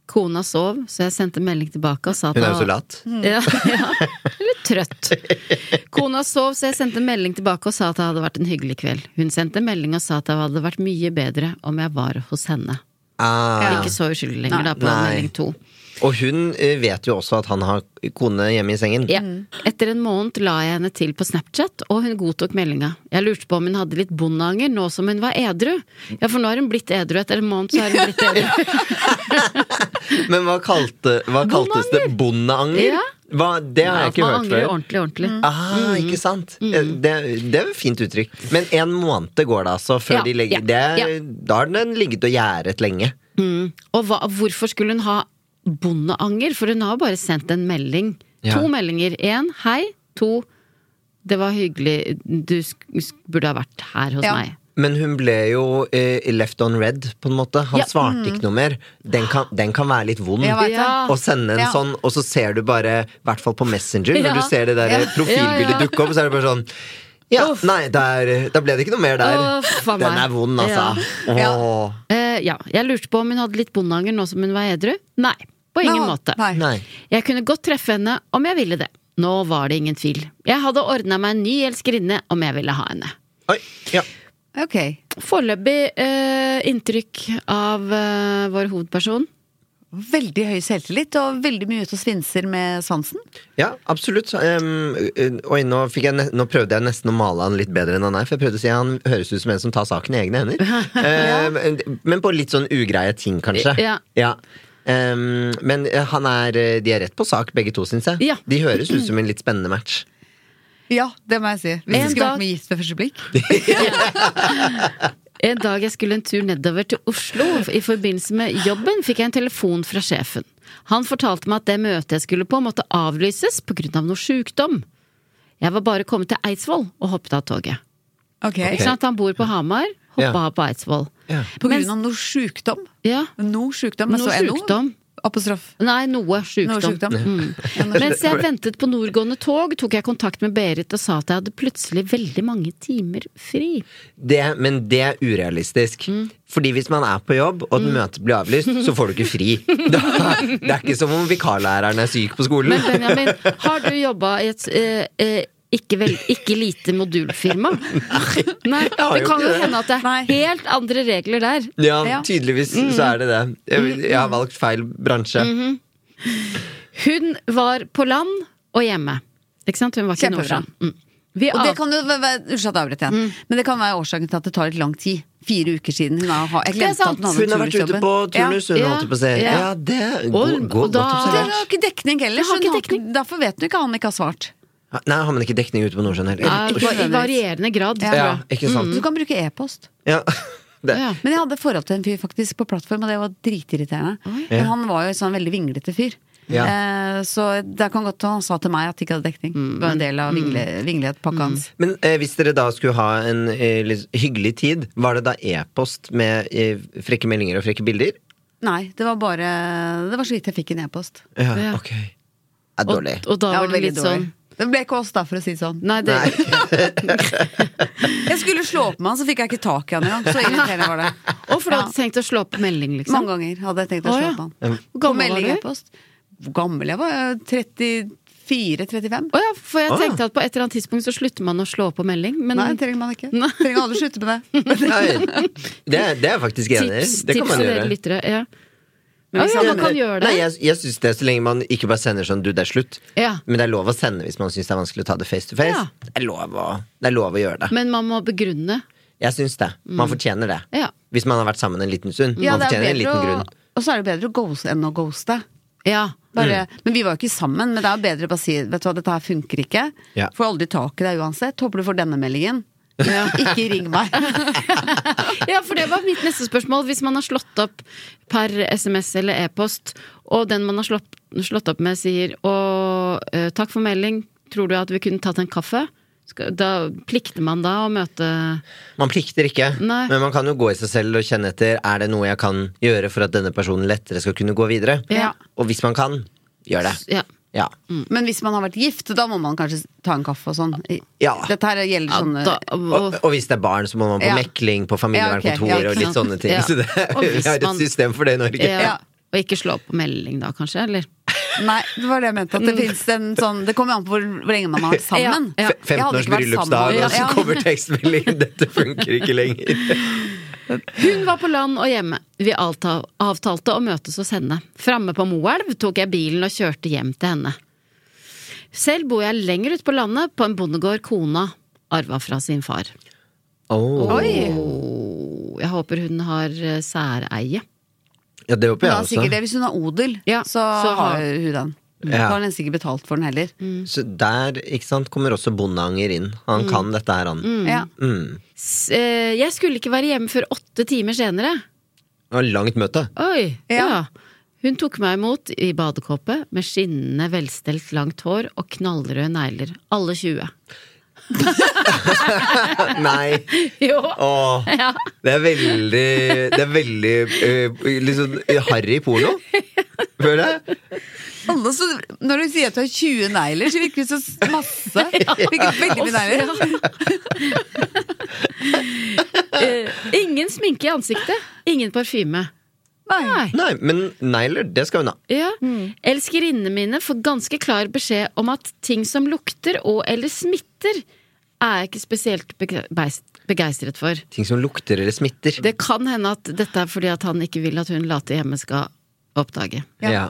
S1: Kona sov, så jeg sendte melding tilbake og sa at
S4: Hun er jo
S1: han-
S4: så lat.
S1: Ja, ja. Eller trøtt. Kona sov, så jeg sendte en melding tilbake og sa at det hadde vært en hyggelig kveld. Hun sendte en melding og sa at det hadde vært mye bedre om jeg var hos henne.
S4: Ah.
S1: Ikke så uskyldig lenger, da, på
S4: Nei.
S1: melding to.
S4: Og hun eh, vet jo også at han har kone hjemme i sengen.
S1: Ja. Mm. Etter en måned la jeg henne til på Snapchat, og hun godtok meldinga. Jeg lurte på om hun hadde litt bondeanger nå som hun var edru. Ja, for nå har hun blitt edru. Etter en måned så har hun blitt edru.
S4: Men hva, kalte, hva kaltes det? Bondeanger?
S1: Ja.
S4: Hva, det har jeg
S1: At
S4: ikke
S1: man
S4: hørt
S1: angrer
S4: før.
S1: ordentlig, Mm. ordentlig.
S4: Ah, ikke sant? Det, det er et fint uttrykk. Men en måned går det altså før
S1: Ja,
S4: de legger
S1: ja,
S4: det, er-
S1: ja.
S4: Da har den ligget og gjæret lenge.
S1: Og hva, hvorfor skulle hun ha bondeanger? For hun har bare sendt en melding.
S4: Ja.
S1: To meldinger. Én hei. To det var hyggelig, du sk sk- burde ha vært her hos
S2: Ja.
S1: meg.
S4: Men hun ble jo eh, left on red, på en måte. Han
S1: Ja. Mm.
S4: svarte ikke noe mer. Den kan, den kan være litt vond.
S2: Jeg vet det.
S1: Ja.
S4: Å sende en
S2: Ja.
S4: sånn, og så ser du bare, i hvert fall på Messenger,
S1: Ja.
S4: når du ser det der eh,
S2: Ja.
S4: profilbildet
S1: Ja, ja.
S4: dukke opp, så er det bare sånn ja, Nei, der, da ble det ikke noe mer der.
S1: Uff, faen
S4: den
S1: meg.
S4: er vond, altså.
S2: Ja.
S4: Åh.
S1: Eh, ja, jeg lurte på om hun hadde litt bondeanger nå som hun var edru. Nei, på ingen
S2: Nei,
S1: måte.
S2: Nei.
S4: Nei.
S1: Jeg kunne godt treffe henne om jeg ville det. Nå var det ingen tvil. Jeg hadde ordna meg en ny elskerinne om jeg ville ha henne.
S4: Oi. Ja.
S2: Ok.
S1: Foreløpig eh, inntrykk av eh, vår hovedperson.
S2: Veldig høy selvtillit og veldig mye ute og svinser med svansen.
S4: Ja, absolutt. Så, ehm, eh, oi, nå, fikk jeg ne nå prøvde jeg nesten å male han litt bedre enn han er. For jeg prøvde å si Han høres ut som en som tar saken i egne hender. Ehm, men på litt sånn ugreie ting, kanskje.
S1: Ja.
S4: Ehm, men eh, han er, eh, de er rett på sak, begge to, syns jeg.
S1: Ja.
S4: De høres ut som en litt spennende match.
S2: Ja, det må jeg si. Hvis
S1: En
S2: det skulle
S1: dag-
S2: vært med gift ved første blikk.
S1: En dag jeg skulle en tur nedover til Oslo i forbindelse med jobben, fikk jeg en telefon fra sjefen. Han fortalte meg at det møtet jeg skulle på, måtte avlyses pga. av noe sjukdom. Jeg var bare kommet til Eidsvoll og hoppet av toget.
S2: Ok.
S1: Ikke sant? Han bor på Hamar, hoppa
S4: Ja.
S1: av på Eidsvoll.
S4: Ja.
S2: På
S1: Mens-
S2: grunn av noe sjukdom.
S1: Ja.
S2: Noe sjukdom. men
S1: Noe
S2: så NO.
S1: sjukdom.
S2: Apostrof.
S1: Nei, noe sjukdom.
S2: Noe sjukdom. Mm.
S1: Mens jeg ventet på nordgående tog, tok jeg kontakt med Berit og sa at jeg hadde plutselig veldig mange timer fri.
S4: Det, men det er urealistisk.
S1: Mm.
S4: Fordi hvis man er på jobb, og et møte blir avlyst, så får du ikke fri. Da, det er ikke som om vikarlæreren er syk på skolen.
S1: Men Benjamin, har du jobba i et eh, eh, ikke, vel, ikke lite modulfirma? Nei,
S4: har
S1: det
S4: jo
S1: kan
S4: ikke
S1: jo
S4: det.
S1: hende at det
S2: Nei.
S1: er helt andre regler der.
S4: Ja,
S2: Ja.
S4: tydeligvis så
S1: Mm.
S4: er det det. Jeg, jeg har valgt feil bransje.
S1: Hun var på land og hjemme. Ikke sant? Hun var ikke i
S2: Kjempebra.
S1: Nordsjøen. Mm. Vi
S2: Og det
S1: av-
S2: kan jo være, være- unnskyld at jeg avbrøt igjen, men det kan være årsaken til at det tar litt lang tid. Fire uker siden hun har, jeg
S1: Det er
S2: glemte
S1: sant.
S2: at hun hadde
S4: Hun har vært ute
S2: turnusjobben.
S4: på turnus, hun
S1: Ja.
S4: holdt jeg på å si.
S1: Ja.
S4: Ja, det er
S1: Og-
S4: god-
S1: og
S4: god-
S1: da-
S4: godt
S2: Ja. Det
S4: observert.
S2: har ikke dekning heller,
S1: Det har
S2: så hun
S1: ikke
S2: har ikke- derfor vet hun ikke han ikke har svart.
S4: Nei, har man ikke dekning ute på Nordsjøen heller?
S1: Ja,
S4: Ja,
S1: I varierende grad, tror
S4: ja,
S1: jeg.
S4: ikke sant?
S2: Du kan bruke e-post.
S4: Ja. Det.
S1: Ja.
S2: Men jeg hadde forhold til en fyr faktisk på plattform, og det var dritirriterende. Men han var jo en sånn veldig vinglete fyr.
S4: Ja.
S2: Eh, så det kan godt han sa til meg at det ikke hadde dekning. Det var en del av vingle, vingletpakka hans.
S4: Men eh, hvis dere da skulle ha en eh, litt hyggelig tid, var det da e-post med eh, frekke meldinger og frekke bilder?
S2: Nei, det var bare Det var så vidt jeg fikk en e-post.
S4: Ja,
S1: Ja.
S4: ok. Det er
S1: Og,
S4: dårlig.
S1: og da
S2: Det
S1: var
S2: var
S1: det
S2: veldig
S1: litt
S2: dårlig.
S1: sånn
S2: Det ble ikke oss, da, for å si det sånn.
S1: Nei, det,
S2: Jeg skulle slå opp med han, så fikk jeg ikke tak i han engang. Så irriterende var det.
S1: Og for du
S2: Ja.
S1: hadde tenkt å slå opp melding, liksom?
S2: Mange ganger hadde jeg tenkt å
S1: Å,
S2: slå
S1: ja.
S2: opp med
S1: Hvor
S2: han. På
S1: gammel
S2: melding
S1: var du?
S2: e-post. Hvor gammel jeg var? Jeg var 34 4.35.
S1: Å ja, for jeg
S4: Å, ja.
S1: tenkte at på et eller annet tidspunkt så slutter man å slå på melding, men
S2: Mm. Nei, det trenger man ikke.
S1: Nei.
S2: Trenger alle slutte med det.
S4: Nei, det, er- det er jeg faktisk enig i.
S1: tips,
S4: Det
S1: tips
S4: kan man
S1: til dere
S4: gjøre.
S1: lyttere. Ja. Men hvis man kan gjøre det
S4: Nei, jeg, jeg synes det Så lenge man ikke bare sender sånn 'du, det er slutt'.
S1: Ja.
S4: Men det er lov å sende hvis man syns det er vanskelig å ta det face to face.
S1: Ja.
S4: Det, er lov å, det er lov å gjøre det.
S1: Men man må begrunne.
S4: Jeg syns det. Man fortjener det.
S1: Ja.
S4: Hvis man har vært sammen en liten stund.
S2: Mm. Ja,
S4: man
S2: det er
S4: fortjener en
S2: bedre
S4: liten
S2: å,
S4: grunn.
S2: og så er det bedre å ghoste enn å ghoste.
S1: Ja.
S2: Bare, Men vi var jo ikke sammen, men det er jo bedre å bare si Vet du hva, dette her funker ikke.
S4: Ja.
S2: Får aldri tak i deg uansett. Håper du får denne meldingen. ikke ring meg.
S1: ja, for det var mitt neste spørsmål. Hvis man har slått opp per SMS eller e-post, og den man har slått, slått opp med sier å, eh, takk for melding, tror du at vi kunne tatt en kaffe? Skal, da plikter man da å møte
S4: Man plikter ikke,
S1: Nei.
S4: men man kan jo gå i seg selv og kjenne etter Er det noe jeg kan gjøre for at denne personen lettere skal kunne gå videre.
S1: Ja.
S4: Og hvis man kan, gjør det.
S1: Ja.
S4: Ja.
S2: Men hvis man har vært gift, da må man kanskje ta en kaffe og sånn. I-
S4: Ja.
S2: Dette her gjelder
S1: ja
S2: sånne
S1: da,
S4: Og,
S1: og,
S4: og hvis det er barn, så må man på
S2: Ja.
S4: mekling, på
S2: Ja,
S4: familievernkontoret
S2: ok, ja,
S4: og litt
S1: sant.
S4: sånne ting.
S1: Ja.
S4: Så det,
S1: Og hvis
S4: vi har
S1: man-
S4: et system for det i Norge.
S1: ja. og ikke slå opp på melding da, kanskje? Eller?
S2: Nei, det var det jeg mente. At det finnes en sånn Det kommer jo an på hvor, hvor lenge man har vært sammen.
S1: Ja, ja.
S4: Mm. Fe- 15 års bryllupsdag, og så kommer tekstmelding. Dette funker ikke lenger.
S1: Hun var på land og hjemme. Vi avta- avtalte å møtes hos henne. Framme på Moelv tok jeg bilen og kjørte hjem til henne. Selv bor jeg lenger ute på landet, på en bondegård kona arva fra sin far.
S4: Åh.
S1: Åh, Jeg håper hun har eh, særeie.
S4: Ja, det håper
S2: Men
S4: jeg altså.
S2: da er sikkert det,
S4: også.
S2: Hvis hun har odel,
S1: Ja,
S2: så,
S1: så har-
S2: har hun den. Da
S4: Ja.
S2: har hun nesten ikke betalt for den heller.
S4: Så der ikke sant, kommer også Bondeanger inn. Han
S2: Mm.
S4: kan dette her, han.
S2: Ja.
S1: S- eh, Jeg skulle ikke være hjemme før åtte timer senere.
S4: Det var langt møte.
S1: Oi,
S2: Ja.
S1: ja. Hun tok meg imot i badekåpe med skinnende, velstelt, langt hår og knallrøde negler. Alle 20.
S4: Nei.
S1: Jo.
S4: Åh.
S1: Ja.
S4: Det er veldig Det er veldig eh, liksom harry porno. Føler jeg.
S2: Alle, så, når du sier at du har 20 negler, så virker det så masse. Virker veldig mye negler.
S1: Eh, ingen sminke i ansiktet, ingen parfyme.
S2: Nei.
S1: Nei.
S4: Nei, men negler, det skal hun ha.
S1: Ja. Elskerinnene mine får ganske klar beskjed om at ting som lukter og eller smitter, er jeg ikke spesielt bege- beis- begeistret for.
S4: Ting som lukter eller smitter.
S1: Det kan hende at dette er fordi at han ikke vil at hun late hjemme skal oppdage.
S4: ja.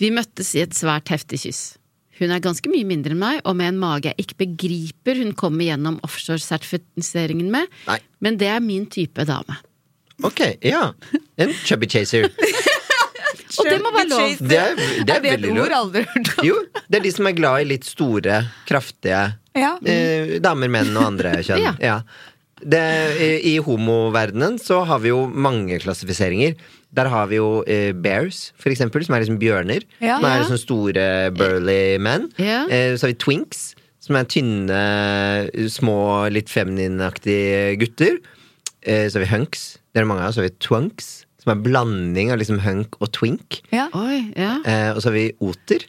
S1: Vi møttes i et svært heftig kyss. Hun er ganske mye mindre enn meg, og med en mage jeg ikke begriper hun kommer gjennom offshore-sertifiseringen med,
S4: Nei.
S1: men det er min type dame.
S4: Ok, ja. En chubby chaser.
S1: Og det må være lov!
S4: Det er, det er
S2: Det er et
S4: veldig
S2: ord jeg
S4: lov.
S2: aldri har hørt om.
S4: Jo, det er de som er glad i litt store, kraftige
S2: Ja.
S4: eh, damer, menn og andre kjønn.
S1: Ja.
S4: Ja. Det, I i homoverdenen så har vi jo mange klassifiseringer. Der har vi jo eh, bears, for eksempel, som er liksom bjørner.
S2: Ja.
S4: Som er
S1: Ja.
S4: liksom store burly menn.
S1: Ja.
S4: Eh, så har vi twinks, som er tynne, små, litt femininaktige gutter. Eh, så har vi hunks, det er det mange av. Så har vi twunks, som er blanding av liksom hunk og twink.
S2: Ja.
S1: Oi, ja.
S4: Eh, og så har vi oter,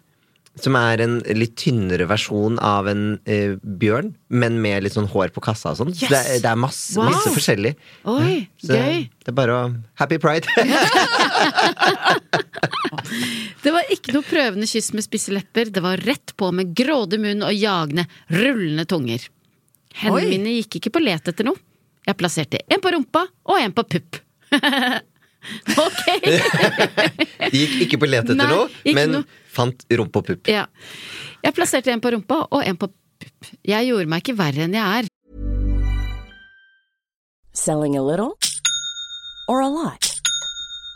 S4: som er en litt tynnere versjon av en eh, bjørn, men med litt sånn hår på kassa og sånn. Så det, er- det er masse,
S1: Wow.
S4: masse forskjellig.
S1: Oi,
S4: Så
S1: gøy!
S4: det er bare å Happy pride!
S1: Det var ikke noe prøvende kyss med spisse lepper, det var rett på med grådig munn og jagende, rullende tunger. Hendene
S2: Oi.
S1: mine gikk ikke på let etter noe. Jeg plasserte en på rumpa og en på pupp. ok!
S4: De gikk ikke på let etter
S1: Nei,
S4: noe,
S1: ikke
S4: men
S1: noe.
S4: fant rumpe og pupp.
S1: Ja. Jeg plasserte en på rumpa og en på pupp. Jeg gjorde meg ikke verre enn jeg er.
S6: Selling a little or a lot?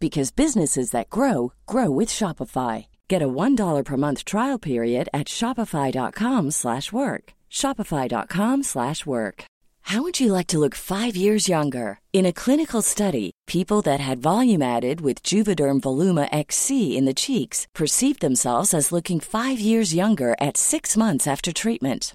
S6: because businesses that grow grow with Shopify. Get a $1 per month trial period at shopify.com/work. shopify.com/work. How would you like to look five years younger? In a clinical study, people that had volume added with Juvederm Voluma XC in the cheeks perceived themselves as looking five years younger at six months after treatment.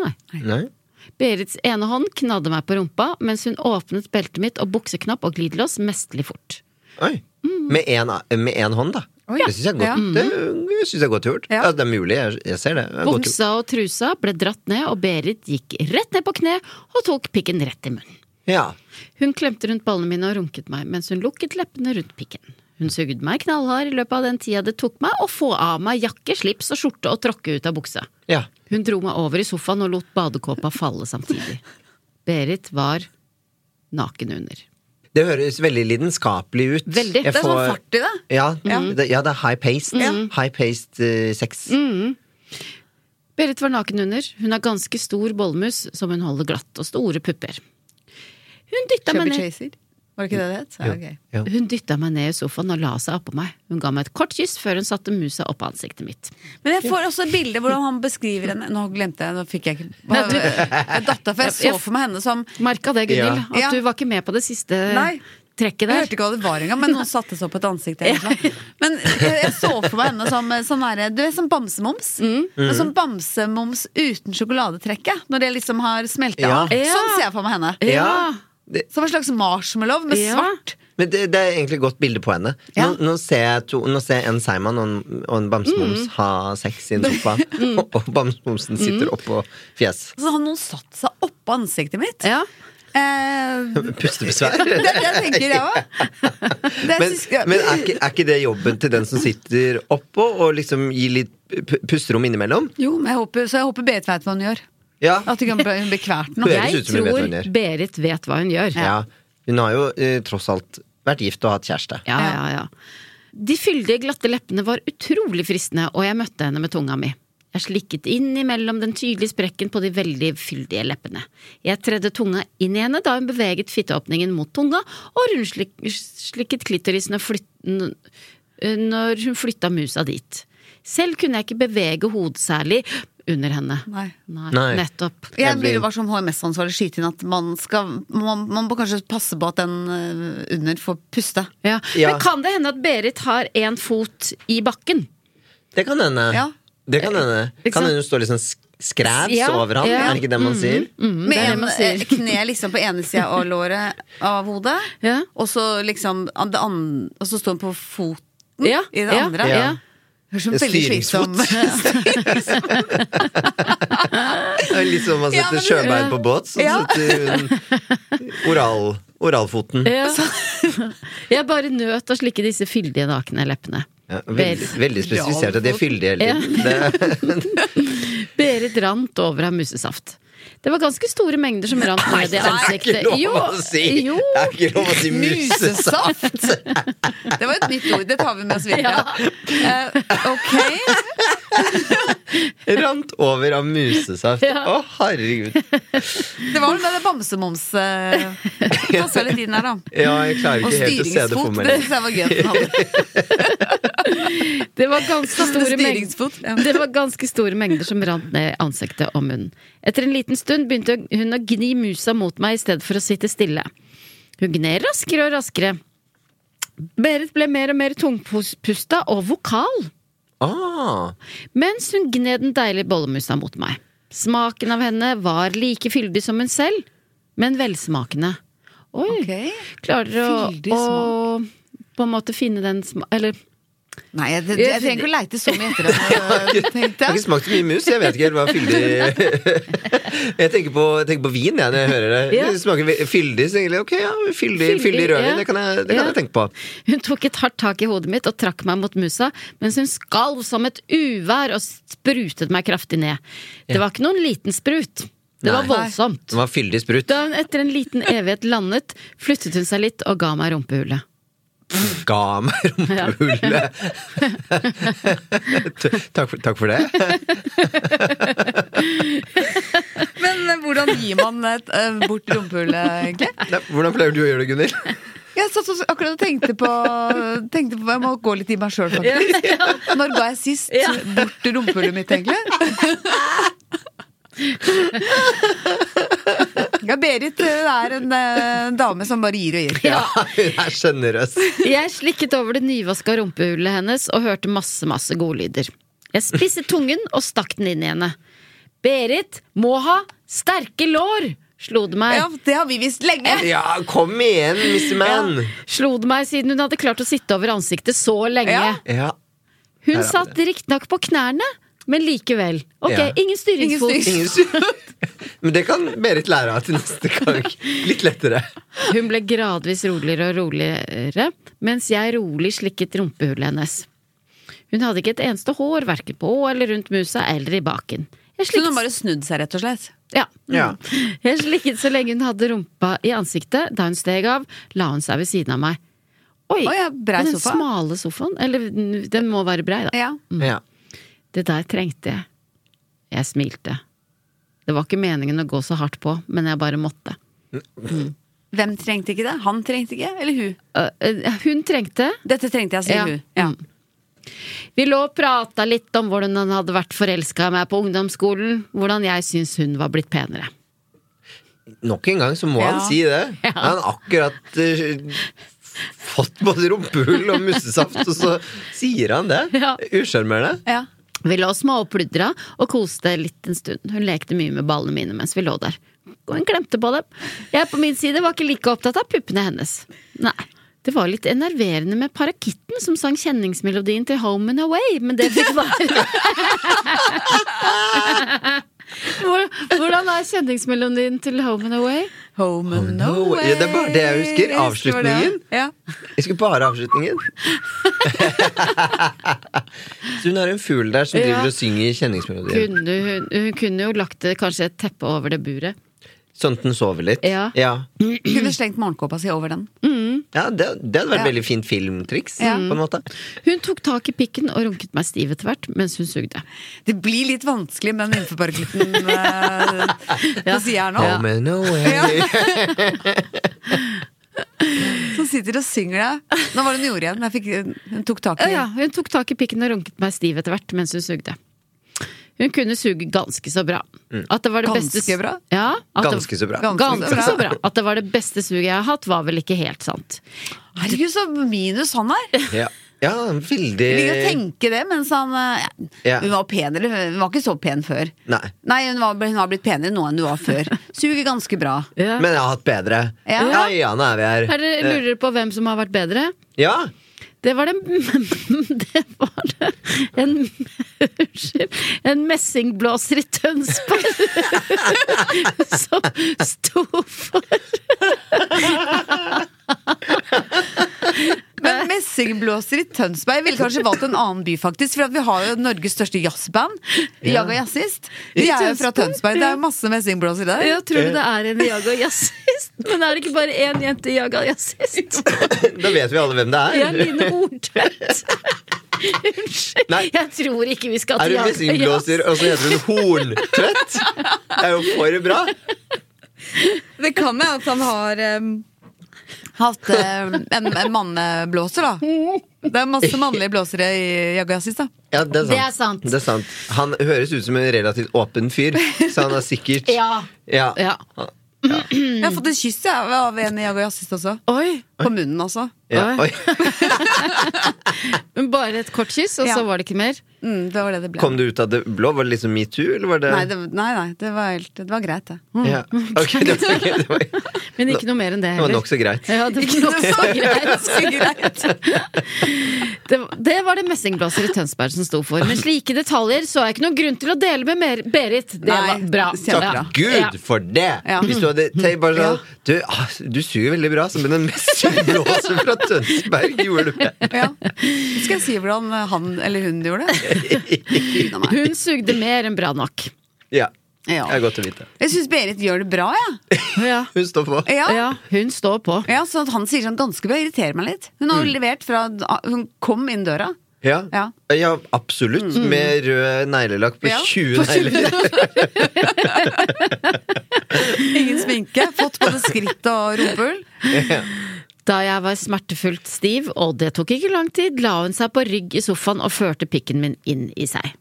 S1: Nei.
S4: Nei?
S1: Berits ene hånd knadde meg på rumpa mens hun åpnet beltet mitt og bukseknapp og glidelås mestelig fort.
S4: Oi.
S1: Mm.
S4: Med én med en hånd, da.
S2: Oi.
S4: Det syns jeg er godt, det synes jeg er godt gjort.
S2: Ja.
S4: Ja. det er mulig, jeg, jeg ser det. det. er godt gjort.
S1: Buksa og trusa ble dratt ned, og Berit gikk rett ned på kne og tok pikken rett i munnen.
S4: Ja.
S1: Hun klemte rundt ballene mine og runket meg mens hun lukket leppene rundt pikken. Hun sugde meg knallhard i løpet av den tida det tok meg å få av meg jakke, slips og skjorte og tråkke ut av buksa.
S4: ja.
S1: Hun dro meg over i sofaen og lot badekåpa falle samtidig. Berit var naken under.
S4: Det høres veldig lidenskapelig ut.
S1: Veldig.
S4: Jeg
S2: Det er sånn fart i det.
S4: Ja, Mm. det, ja, det er high-paced. High-paced eh, sex.
S1: Berit var naken under. Hun har ganske stor bollmus som hun holder glatt, og store pupper. Hun dytta meg
S2: Chubby
S1: ned.
S2: Chaser. Var det ikke det det het? Ja, ok.
S4: Ja.
S1: Hun dytta meg ned i sofaen og la seg oppå meg. Hun ga meg et kort kyss før hun satte musa opp av ansiktet mitt.
S2: Men jeg får også et bilde hvordan han beskriver henne Nå glemte jeg, nå fikk jeg ikke
S1: Nei, du-
S2: Jeg datt av, for jeg så for meg henne som
S1: Merka det, Gunhild.
S4: Ja.
S1: At
S2: Ja.
S1: du var ikke med på det siste
S2: Nei.
S1: trekket
S2: Jeg
S1: der.
S2: hørte ikke hva det var engang, men noen satte seg opp et ansikt. egentlig. Men jeg jeg så for meg henne som eh, sånn derre- du vet, som bamsemums.
S4: Mm.
S2: Men som bamsemums uten sjokoladetrekket, når det liksom har smelta
S4: Ja.
S2: av. Sånn ser jeg for meg henne.
S1: Ja.
S4: Det,
S2: Som en slags marshmallow med
S1: Ja.
S2: svart.
S4: men det, det er egentlig et godt bilde på henne. Nå,
S2: Ja.
S4: nå, ser, jeg to, nå ser jeg en Seiman og en, og en Bamsemums ha sex i en sofa, og, og Bamsemumsen sitter oppå fjes.
S2: Så har noen satt seg oppå ansiktet mitt.
S1: Ja.
S2: Eh,
S4: Pustebesvær.
S2: det er det jeg tenker, jeg òg.
S4: Men, men er, ikke, er ikke det jobben til den som sitter oppå, og liksom gir litt p- pusterom innimellom?
S2: Jo, men jeg håper, så jeg håper Berit vet hva hun gjør.
S4: Ja.
S2: At hun kan bli bli kvert nå.
S4: Det høres
S1: Jeg
S4: ut som hun vet hva
S1: tror
S4: hun gjør.
S1: Berit vet hva hun gjør.
S4: ja. Hun har jo eh, tross alt vært gift og hatt kjæreste.
S1: Ja, ja, ja. De fyldige, glatte leppene var utrolig fristende, og jeg møtte henne med tunga mi. Jeg slikket inn imellom den tydelige sprekken på de veldig fyldige leppene. Jeg tredde tunga inn i henne da hun beveget fitteåpningen mot tunga, og rundslikket klitorisen og flytt- n- når hun flytta musa dit. Selv kunne jeg ikke bevege hodet særlig under henne.
S2: Nei.
S4: Nei.
S1: Nettopp.
S2: Jeg
S4: Jeg
S2: blir jo
S4: blir-
S2: bare sånn som HMS-ansvarlig skyte inn at man skal man, man må kanskje passe på at den øh, under får puste.
S1: Ja.
S4: Ja.
S1: Men kan det hende at Berit har én fot i bakken?
S4: Det kan hende.
S2: Ja. Eh,
S4: Det kan hende.
S1: Ikke
S4: Kan
S1: sant?
S4: hende hun står litt sånn sk- skrævs
S1: Ja,
S4: over han,
S1: ja.
S4: er det ikke det man
S2: Mm.
S4: sier?
S2: Med
S1: det er det
S2: en
S1: man sier.
S2: eh, kne liksom på ene sida av låret av hodet,
S1: Ja.
S2: og så liksom an- det an, Og så står hun på foten
S1: Ja,
S2: i det
S1: ja,
S2: andre.
S1: ja.
S2: Høres som veldig
S4: Styringsfot.
S2: slitsom
S4: Det er Litt som om man
S2: Ja,
S4: setter
S2: men-
S4: sjøbein på båt, så
S2: Ja.
S4: setter hun oral, oralfoten.
S2: Eh,
S1: Ja. Jeg bare nøt å slikke disse fyldige, nakne leppene.
S4: Ja, veldig, veldig spesifisert at de er fyldige hele
S1: Ja.
S4: tiden. Det,
S1: Berit rant over av musesaft. Det var ganske store mengder som rant ned i
S4: det er ikke
S1: ansiktet.
S4: lov
S1: Jo,
S4: å si!
S1: jo.
S4: Det er ikke lov å si muses.
S2: Musesaft! Det var et nytt ord. Det tar vi med oss videre. Eh, ok.
S4: Rant over av musesaft.
S1: Ja.
S4: Å, herregud.
S2: Det var vel det der bamsemums uh, passa litt inn her, da.
S4: Ja, jeg klarer
S2: Og
S4: ikke helt å se det for
S2: styringsfot.
S4: meg.
S2: Det syns jeg var gøy at den hadde.
S1: Det var ganske store mengder.
S2: Styringsfot. Ja.
S1: Det var ganske store mengder som rant ned i ansiktet og munnen. Etter en liten stund begynte hun å gni musa mot meg i stedet for å sitte stille. Hun gned raskere og raskere. Berit ble mer og mer tungpusta og vokal.
S4: Ah,
S1: Mens hun gned den deilige bollemusa mot meg. Smaken av henne var like fyldig som hun selv, men velsmakende. Oi!
S2: Ok.
S1: Klarer å,
S2: Fyldig
S1: å på en måte finne den sma... Eller
S2: Nei, jeg, jeg, jeg trenger ikke å leite så mye etter det.
S4: Jeg
S2: tenkte
S4: har ikke
S2: jeg.
S4: smakt så mye mus, jeg vet ikke helt hva fyldig Jeg tenker på, tenker på vin jeg, når jeg hører det.
S1: Ja.
S4: Det smaker vi- fyldig, så egentlig. Ok, ja, fyldig,
S1: Fyldig,
S4: fyldig rødvin,
S1: ja.
S4: det, kan jeg, det kan
S1: Ja.
S4: jeg tenke på.
S1: Hun tok et hardt tak i hodet mitt og trakk meg mot musa, mens hun skalv som et uvær og sprutet meg kraftig ned. Det var ikke noen liten sprut. Det var
S4: Nei.
S1: voldsomt.
S4: Den var fyldig sprut.
S1: Da hun etter en liten evighet landet, flyttet hun seg litt og ga meg rumpehullet.
S4: Ga meg rumpehullet! T- takk, for- takk for det.
S2: Men eh, hvordan gir man et, eh, bort rumpehullet, egentlig?
S4: Nei, Hvordan pleier du å gjøre det, Gunhild?
S2: Jeg satt og- akkurat og tenkte på, tenkte på Jeg må gå litt i meg sjøl, faktisk. Når ga jeg sist bort rumpehullet mitt, egentlig? Ja, Berit eh, er en eh, dame som bare gir og gir.
S1: Ja.
S4: Hun er sjenerøs.
S1: Jeg slikket over det nyvaska rumpehullet hennes og hørte masse, masse godlyder. Jeg spisset tungen og stakk den inn i henne. Berit må ha sterke lår! slo det meg.
S2: Ja, det har vi visst lenge!
S4: Ja, kom igjen, Mr. Man!
S1: Slo det meg siden hun hadde klart å sitte over ansiktet så lenge.
S2: Ja.
S4: Ja.
S1: Hun
S4: Her er
S1: satt riktignok på knærne, men likevel. Ok,
S4: Ja.
S1: ingen styringsfot.
S2: Ingen
S4: Ingen sur. Men det kan Berit lære av til neste gang. Litt lettere.
S1: Hun ble gradvis roligere og roligere, mens jeg rolig slikket rumpehullet hennes. Hun hadde ikke et eneste hår, verken på eller rundt musa eller i baken. Jeg
S2: Så hun
S1: slikket,
S2: har bare snudd seg, rett og slett.
S1: ja.
S4: Ja.
S1: jeg slikket så lenge hun hadde rumpa i ansiktet. Da hun steg av, la hun seg ved siden av meg. Oi,
S2: Å ja, brei
S1: den
S2: sofa.
S1: smale sofaen. Eller den må være brei, da.
S2: Ja.
S4: Ja.
S1: Det der trengte jeg. Jeg smilte. Det var ikke meningen å gå så hardt på, men jeg bare måtte.
S2: Hvem trengte ikke det? Han trengte ikke, eller hun?
S1: Øh, øh, Hun trengte
S2: Dette trengte jeg, sier
S1: Ja.
S2: hun. Ja.
S1: Vi lå og prata litt om hvordan han hadde vært forelska i meg på ungdomsskolen. Hvordan jeg syns hun var blitt penere.
S4: Nok en gang så må
S2: Ja.
S4: han si det. Han har akkurat eh, fått både rumpehull og mussesaft, og så sier han det.
S1: Ja.
S4: Usjarmerende.
S2: Ja.
S1: Vi lå småpludra og koste litt en stund. Hun lekte mye med ballene mine mens vi lå der. Og hun klemte på dem. Jeg på min side var ikke like opptatt av puppene hennes. Nei. Det var litt enerverende med parakitten som sang kjenningsmelodien til Home and Away, men det fikk være. Hvor- Hvordan er kjenningsmelodien til Home and Away?
S2: Home and
S4: no way. Ja, det er bare det jeg husker.
S2: Det var det.
S4: Avslutningen.
S2: Ja.
S4: Jeg husker bare avslutningen. så hun har en fugl der som
S1: Ja.
S4: driver og synger kjenningsmelodien.
S1: Kunne hun, hun kunne jo lagt det, kanskje et teppe over det buret.
S4: Sånn at den sover litt.
S1: Ja.
S4: ja.
S2: Kunne slengt morgenkåpa si over den.
S4: Ja, det, det hadde vært
S2: Ja.
S4: veldig fint filmtriks,
S2: Ja.
S4: på en måte.
S1: Hun tok tak i pikken og runket meg stiv etter hvert mens hun sugde.
S2: Det blir litt vanskelig med den innforparklitten eh, på sida her nå.
S4: Oh, man, no way.
S2: Som sitter og synger det. Nå var det hun gjorde igjen, men jeg fikk, hun tok tak i
S1: Ja, hun tok tak i pikken og runket meg stiv etter hvert mens hun sugde. Hun kunne suge ganske så bra. At det var det
S2: Ganske
S1: beste,
S2: bra?
S1: Ja, at det-
S4: Ganske så bra.
S2: Ganske så
S1: Mm. Ganske så bra. At det var det beste suget jeg har hatt, var vel ikke helt sant.
S2: Herregud, så minus han er!
S4: Ja, ja veldig
S2: Ligger og tenker det mens han eh,
S4: Eh. Ja.
S2: Hun var pen, eller hun var ikke så pen før.
S4: Nei.
S2: hun, var, hun har blitt penere nå enn hun var før. Suger ganske bra.
S4: Men jeg har hatt bedre.
S2: Ja.
S4: ja, ja nå er vi her. Eh,
S1: Her lurer dere på hvem som har vært bedre?
S4: Ja,
S1: Det var det Det var det En, unnskyld, en messingblåser i Tønsberg som sto for
S2: Men messingblåser i Tønsberg Jeg ville kanskje valgt en annen by, faktisk. For at vi har jo Norges største jazzband. Jaga Jazzist. De
S1: I
S2: er jo fra
S1: Tønsberg,
S2: Tønsberg. Det er
S1: ja.
S2: jo masse messingblåser der.
S1: Jeg tror du det er en jaga jazzist? Men er det ikke bare én jente jaga jazzist?
S4: da vet vi alle hvem det
S1: Ja,
S4: er.
S1: Line Hortvedt. Unnskyld.
S4: Nei.
S1: Jeg tror ikke vi skal til
S4: Er hun
S1: jaga
S4: messingblåser, og så heter hun Horntrøtt? Det er jo for bra!
S2: Det kan hende at han har ehm, em, hatt em, en, en manneblåser, da. Det er masse mannlige blåsere i Jaga Jazzist, da.
S4: Ja, det er sant.
S1: Det er sant.
S4: Det er sant. Han høres ut som en relativt åpen fyr, så han er sikkert
S1: Ja.
S4: Ja.
S1: Ja.
S2: Mm. Jeg har fått et kyss jeg, av en i Jaga Jazzist også.
S1: Oi.
S2: På munnen også.
S4: Ja,
S1: Oi.
S4: oi.
S1: Men bare et kort kyss, og så
S2: Ja.
S1: var det ikke mer?
S2: Mm, det var det det ble.
S4: Kom det ut av det blå? Var det liksom metoo, eller var det
S2: Nei, det, nei, nei, det var, helt, det var greit, det.
S4: Ja. Ok, det var, ok, det var, det
S1: Men ikke noe mer enn det
S4: var
S1: heller.
S4: nokså greit.
S1: Ja, det var nokså greit.
S2: greit.
S1: Det, det var det messingblåser i Tønsberg som sto for. Men slike detaljer så jeg ikke noen grunn til å dele med mer Berit. Det
S2: Nei,
S1: var bra.
S2: kjempebra.
S1: Ja.
S4: Takk Gud for det!
S2: Ja.
S4: Hvis du hadde tenkt bare
S2: Ja.
S4: sånn Du, ah, du suger veldig bra, som den mest blåser fra Tønsberg gjorde det.
S2: Ja. Skal jeg si hvordan han eller hun gjorde det? Gud a meg.
S1: Hun sugde mer enn bra nok.
S4: Ja.
S2: Ja.
S4: Det er godt å vite.
S2: Jeg syns Berit gjør det bra, jeg.
S1: Ja.
S4: Hun står på.
S2: Ja. Ja.
S1: ja, hun står på.
S2: så at han sier sånn ganske bra, irriterer meg litt. Hun
S4: Mm.
S2: har jo levert fra hun kom inn døra.
S4: Ja, ja.
S2: Ja.
S4: absolutt. Med rød neglelakk på
S2: Ja.
S4: 20 negler.
S2: Ingen sminke. Fått både skritt og rumpehull.
S1: Da jeg var smertefullt stiv, og det tok ikke lang tid, la hun seg på rygg i sofaen og førte pikken min inn i seg.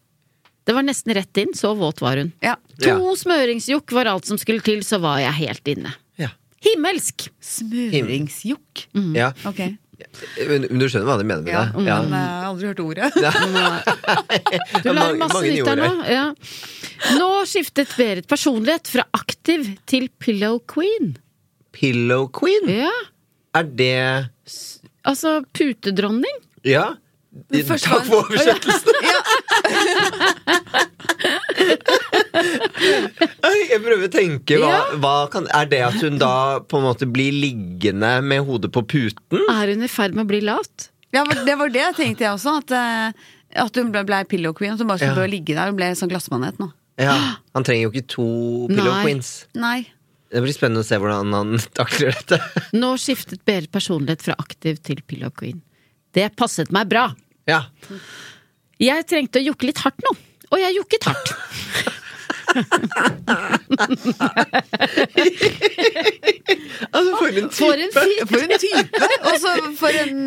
S1: Det var nesten rett inn, så våt var hun.
S2: Ja.
S1: To
S4: Ja.
S1: smøringsjokk var alt som skulle til, så var jeg helt inne.
S4: Ja.
S1: Himmelsk!
S2: Smøringsjokk.
S4: Ja.
S2: Ok.
S4: Men men du skjønner hva de mener med
S2: Ja,
S4: det? Ja.
S2: Men eh, jeg har aldri hørt ordet.
S1: Du lærer
S4: Mange-
S1: masse
S4: mange nye
S1: nytt her nå.
S4: ord
S1: Ja. Nå skiftet Berit personlighet fra aktiv til pillow queen.
S4: Pillow queen?
S1: Ja,
S4: Er det
S1: altså putedronning.
S4: Ja.
S2: først
S4: Takk
S2: var-
S4: for oversettelsen! Oi, Jeg prøver å tenke hva,
S1: Ja.
S4: hva kan, Er det at hun da på en måte blir liggende med hodet på puten?
S1: Er hun i ferd med å bli lat?
S2: Ja, men det var det tenkte jeg også. At, eh, at hun ble, ble pillow queen. At hun bare skulle
S4: Ja.
S2: bør ligge der. Hun ble sånn glassmanet nå.
S4: Ja, Han trenger jo ikke to pillow
S1: Nei.
S4: queens.
S2: Nei.
S4: Det blir spennende å se hvordan han takler dette.
S1: Nå skiftet Berit personlighet fra aktiv til pillow queen. Det passet meg bra.
S4: Ja,
S1: Jeg trengte å jokke litt hardt nå, og jeg jokket hardt.
S4: altså For en
S1: For en
S4: type!
S1: fyr!
S2: For en type! Og så for en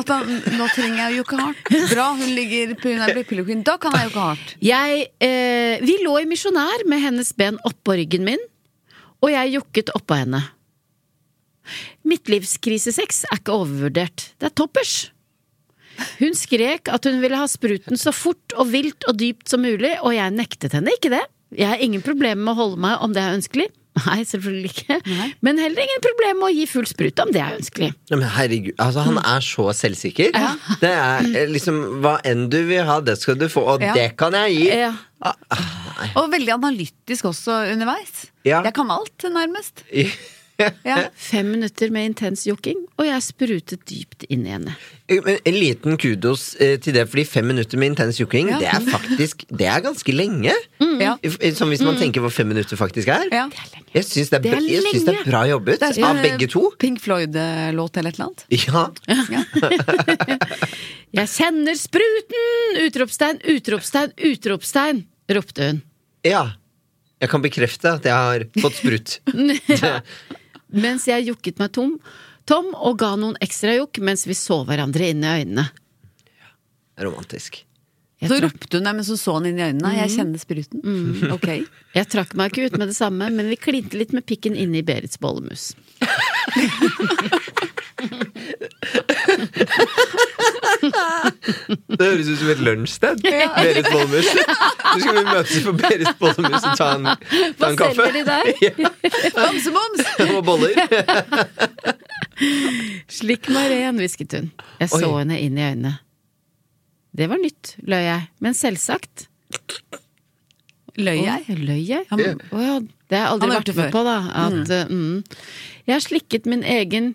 S2: At han Nå trenger jeg å jokke hardt. Bra, hun ligger hun er blitt pillow queen. Da kan jeg jokke hardt.
S1: Jeg, eh, vi lå i misjonær med hennes ben oppå ryggen min, og jeg jokket oppå henne. Midtlivskrisesex er ikke overvurdert. Det er toppers! Hun skrek at hun ville ha spruten så fort og vilt og dypt som mulig, og jeg nektet henne ikke det. Jeg har ingen problemer med å holde meg om det er ønskelig. Nei, selvfølgelig ikke.
S2: Nei.
S1: Men heller ingen problemer med å gi full sprut om det er ønskelig.
S4: Ja, men herregud, altså Han er så selvsikker. Det er eh, liksom Hva enn du vil ha, det skal du få, og
S2: Ja.
S4: det kan jeg gi!
S1: Ja.
S2: Og veldig analytisk også underveis.
S4: Ja.
S2: Jeg kan alt, nærmest. Ja.
S1: Fem minutter med intens jokking, og jeg sprutet dypt inn i henne.
S4: Men En liten kudos eh, til det, fordi fem minutter med intens jukking,
S2: Ja. Mm,
S4: det er faktisk Det er ganske lenge.
S2: Ja.
S4: I- i- Som hvis man tenker hva fem minutter faktisk er.
S2: Ja.
S4: Jeg syns det, er
S1: Det er
S4: bra- jeg syns det er
S1: lenge.
S4: bra jobbet
S2: Det er som
S4: av
S2: en,
S4: begge to.
S2: Pink Floyd-låt eller et eller annet.
S4: Ja.
S1: Jeg kjenner spruten! Utropstegn, utropstegn, utropstegn! ropte hun.
S4: ja. Jeg kan bekrefte at jeg har fått sprut.
S1: Mens jeg jukket meg tom, tom og ga noen ekstra jukk mens vi så hverandre inn i øynene.
S4: Romantisk.
S1: Jeg
S2: Så
S1: trakk,
S2: ropte hun dem mens hun så han inn i øynene. Jeg kjenner spruten. Ok.
S1: jeg trakk meg ikke ut med det samme, men vi klinte litt med pikken inne i Berits bollemus.
S4: Det høres ut som et lunsjsted. Berit Bollemus. Nå skal vi møtes på Berit Bollemus og ta en, ta
S1: Hva
S4: en kaffe.
S1: selger de der?
S2: Bamseboms!
S4: Og boller.
S1: Slikk meg ren, hvisket hun. Jeg så
S4: Oi.
S1: henne inn i øynene. Det var nytt, løy jeg. Men selvsagt.
S2: Løy
S1: Å,
S2: jeg?
S1: Løy jeg?
S2: Ja, men-
S1: Å ja, det har jeg aldri
S2: Han har
S1: vært
S2: gjort det
S1: med
S2: før.
S1: på, da. At, eh, mm. Jeg har slikket min egen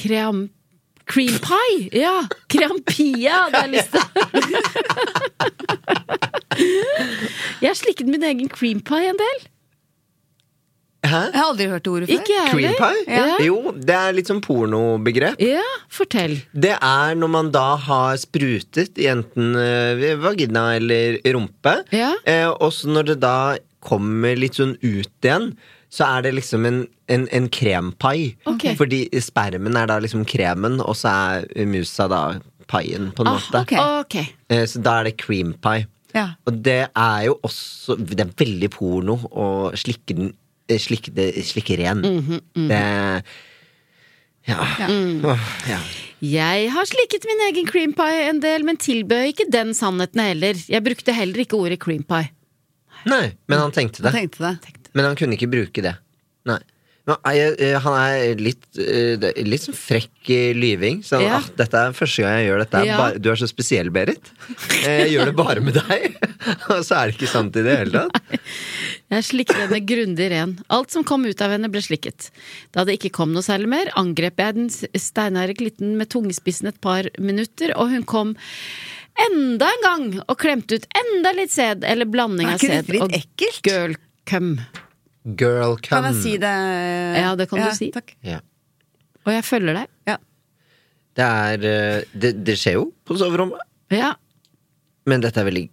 S1: kream... Cream pie! Ja! Krampia, hadde jeg lyst til. jeg har slikket min egen cream pie en del.
S4: Hæ?
S2: Jeg har aldri hørt det ordet før.
S1: Ikke jeg
S4: Cream pie?
S1: Ja.
S4: Jo, det er litt sånn pornobegrep.
S1: Ja, fortell.
S4: Det er når man da har sprutet i enten eh, vagina eller rumpe,
S1: Ja.
S4: eh, og så når det da kommer litt sånn ut igjen, så er det liksom en, en, en krempai.
S1: Ok.
S4: Fordi spermen er da liksom kremen, og så er musa da paien, på en
S1: Ah,
S4: måte.
S2: ok.
S1: Ok.
S4: Eh, så da er det cream pie.
S2: Ja.
S4: Og det er jo også Det er veldig porno
S2: Mhm,
S4: å slikke den eh, Slikke, det, slikke ren. Det Ja. Åh, ja.
S1: Jeg har slikket min egen cream pie en del, men tilbød ikke den sannheten heller. Jeg brukte heller ikke ordet cream pie.
S4: Nei, men han tenkte det.
S2: Tenkte det.
S4: Men han kunne ikke bruke det. Nei. Men, jeg, eh, han er litt, eh, det er litt sånn frekk i lyving. Sånn,
S1: Ja.
S4: ah, 'Dette er første gang jeg gjør dette.
S1: Ja.
S4: Bare, du er så spesiell, Berit. Eh, Jeg gjør det bare med deg.' Og så er det ikke sant i det hele tatt.
S1: Jeg slikket henne grundig ren. Alt som kom ut av henne, ble slikket. Da det ikke kom noe særlig mer, angrep jeg den steinære klitten med tungespissen et par minutter, og hun kom enda en gang og klemte ut enda litt sæd, eller blanding
S2: Er
S1: av
S2: ikke
S1: sæd
S2: dette litt
S1: og
S2: ekkelt?
S1: girl cum.
S4: Girl
S2: Kan jeg
S4: come.
S2: si det?
S1: Mm. Ja, det kan du si.
S2: Takk.
S4: Ja.
S1: Og jeg følger deg.
S2: Ja.
S4: Det, er, eh, det, det skjer jo på soverommet,
S1: Ja.
S4: men dette er veldig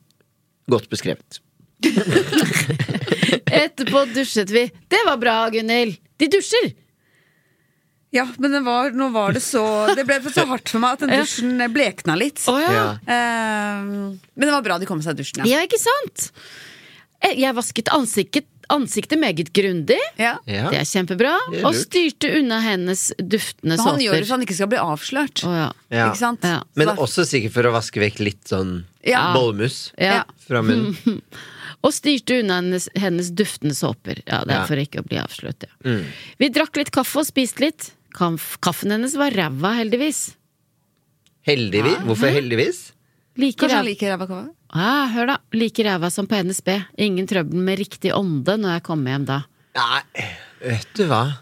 S4: godt beskrevet.
S1: Etterpå dusjet vi. Det var bra, Gunhild! De dusjer!
S2: ja, men det var, nå var det så Det ble så hardt for meg at den dusjen eh, blekna litt.
S1: Å ja.
S4: Ja.
S2: Eh, men det var bra de kom seg i dusjen.
S1: ja, ikke sant? Eh, Jeg vasket ansiktet, ansiktet meget grundig.
S2: Ja.
S4: Ja.
S1: Det er kjempebra.
S4: Det er
S1: Og
S4: lurt.
S1: styrte unna hennes duftende
S2: Men
S1: såper.
S2: han gjør det sånn- så han ikke skal bli avslørt.
S1: Å, ja.
S4: Ja.
S2: Ikke sant?
S1: Ja.
S2: Så
S4: Men
S2: da-
S4: også sikkert for å vaske vekk litt sånn
S2: Ja.
S4: bollmus
S1: Ja.
S4: fra munnen.
S1: Og styrte unna hennes, hennes duftende såper. Ja, det er
S4: Ja. Mm.
S1: for ikke å bli avslørt, ja. Vi drakk litt kaffe og spiste litt. Kamf, kaffen hennes var ræva, heldigvis.
S4: Heldigvis. Hvorfor heldigvis?
S1: Like
S2: Kanskje han
S1: ræva.
S2: liker ræva kava?
S1: Ah, hør da. Like ræva som på NSB. Ingen trøbbel med riktig ånde når jeg kommer hjem da.
S4: Nei, vet du hva?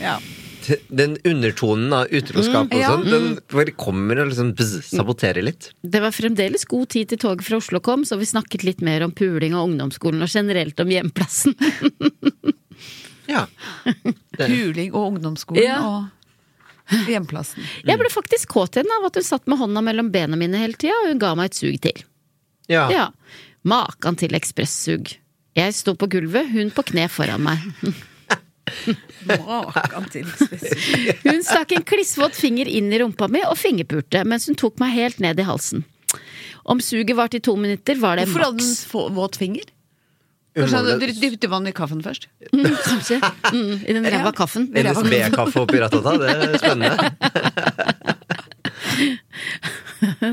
S2: Ja.
S4: t- den undertonen av utroskap og
S2: ja.
S4: sånn, den bare kommer og liksom bzz, saboterer litt.
S1: Det var fremdeles god tid til toget fra Oslo kom, så vi snakket litt mer om puling og ungdomsskolen og generelt om hjemplassen.
S4: Ja.
S2: Puling og ungdomsskolen
S1: Ja.
S2: og hjemplassen.
S1: Jeg ble faktisk kåt igjen av at hun satt med hånda mellom bena mine hele tida, og hun ga meg et sug til.
S4: ja.
S1: Ja. Makan til ekspressug. Jeg sto på gulvet, hun på kne foran meg.
S2: Makan til spesielt.
S1: Hun stakk en klissvåt finger inn i rumpa mi og fingerpulte mens hun tok meg helt ned i halsen. Om suget varte i to minutter, var det
S2: Hvorfor hadde
S1: maks.
S2: den få- våt finger?
S4: Hun
S2: Kanskje
S4: må
S2: han
S4: vel-
S2: dypte vann i kaffen først?
S1: Mm, kanskje. Mm, I den ræva kaffen.
S4: NSB-kaffe oppi rattata, det er spennende.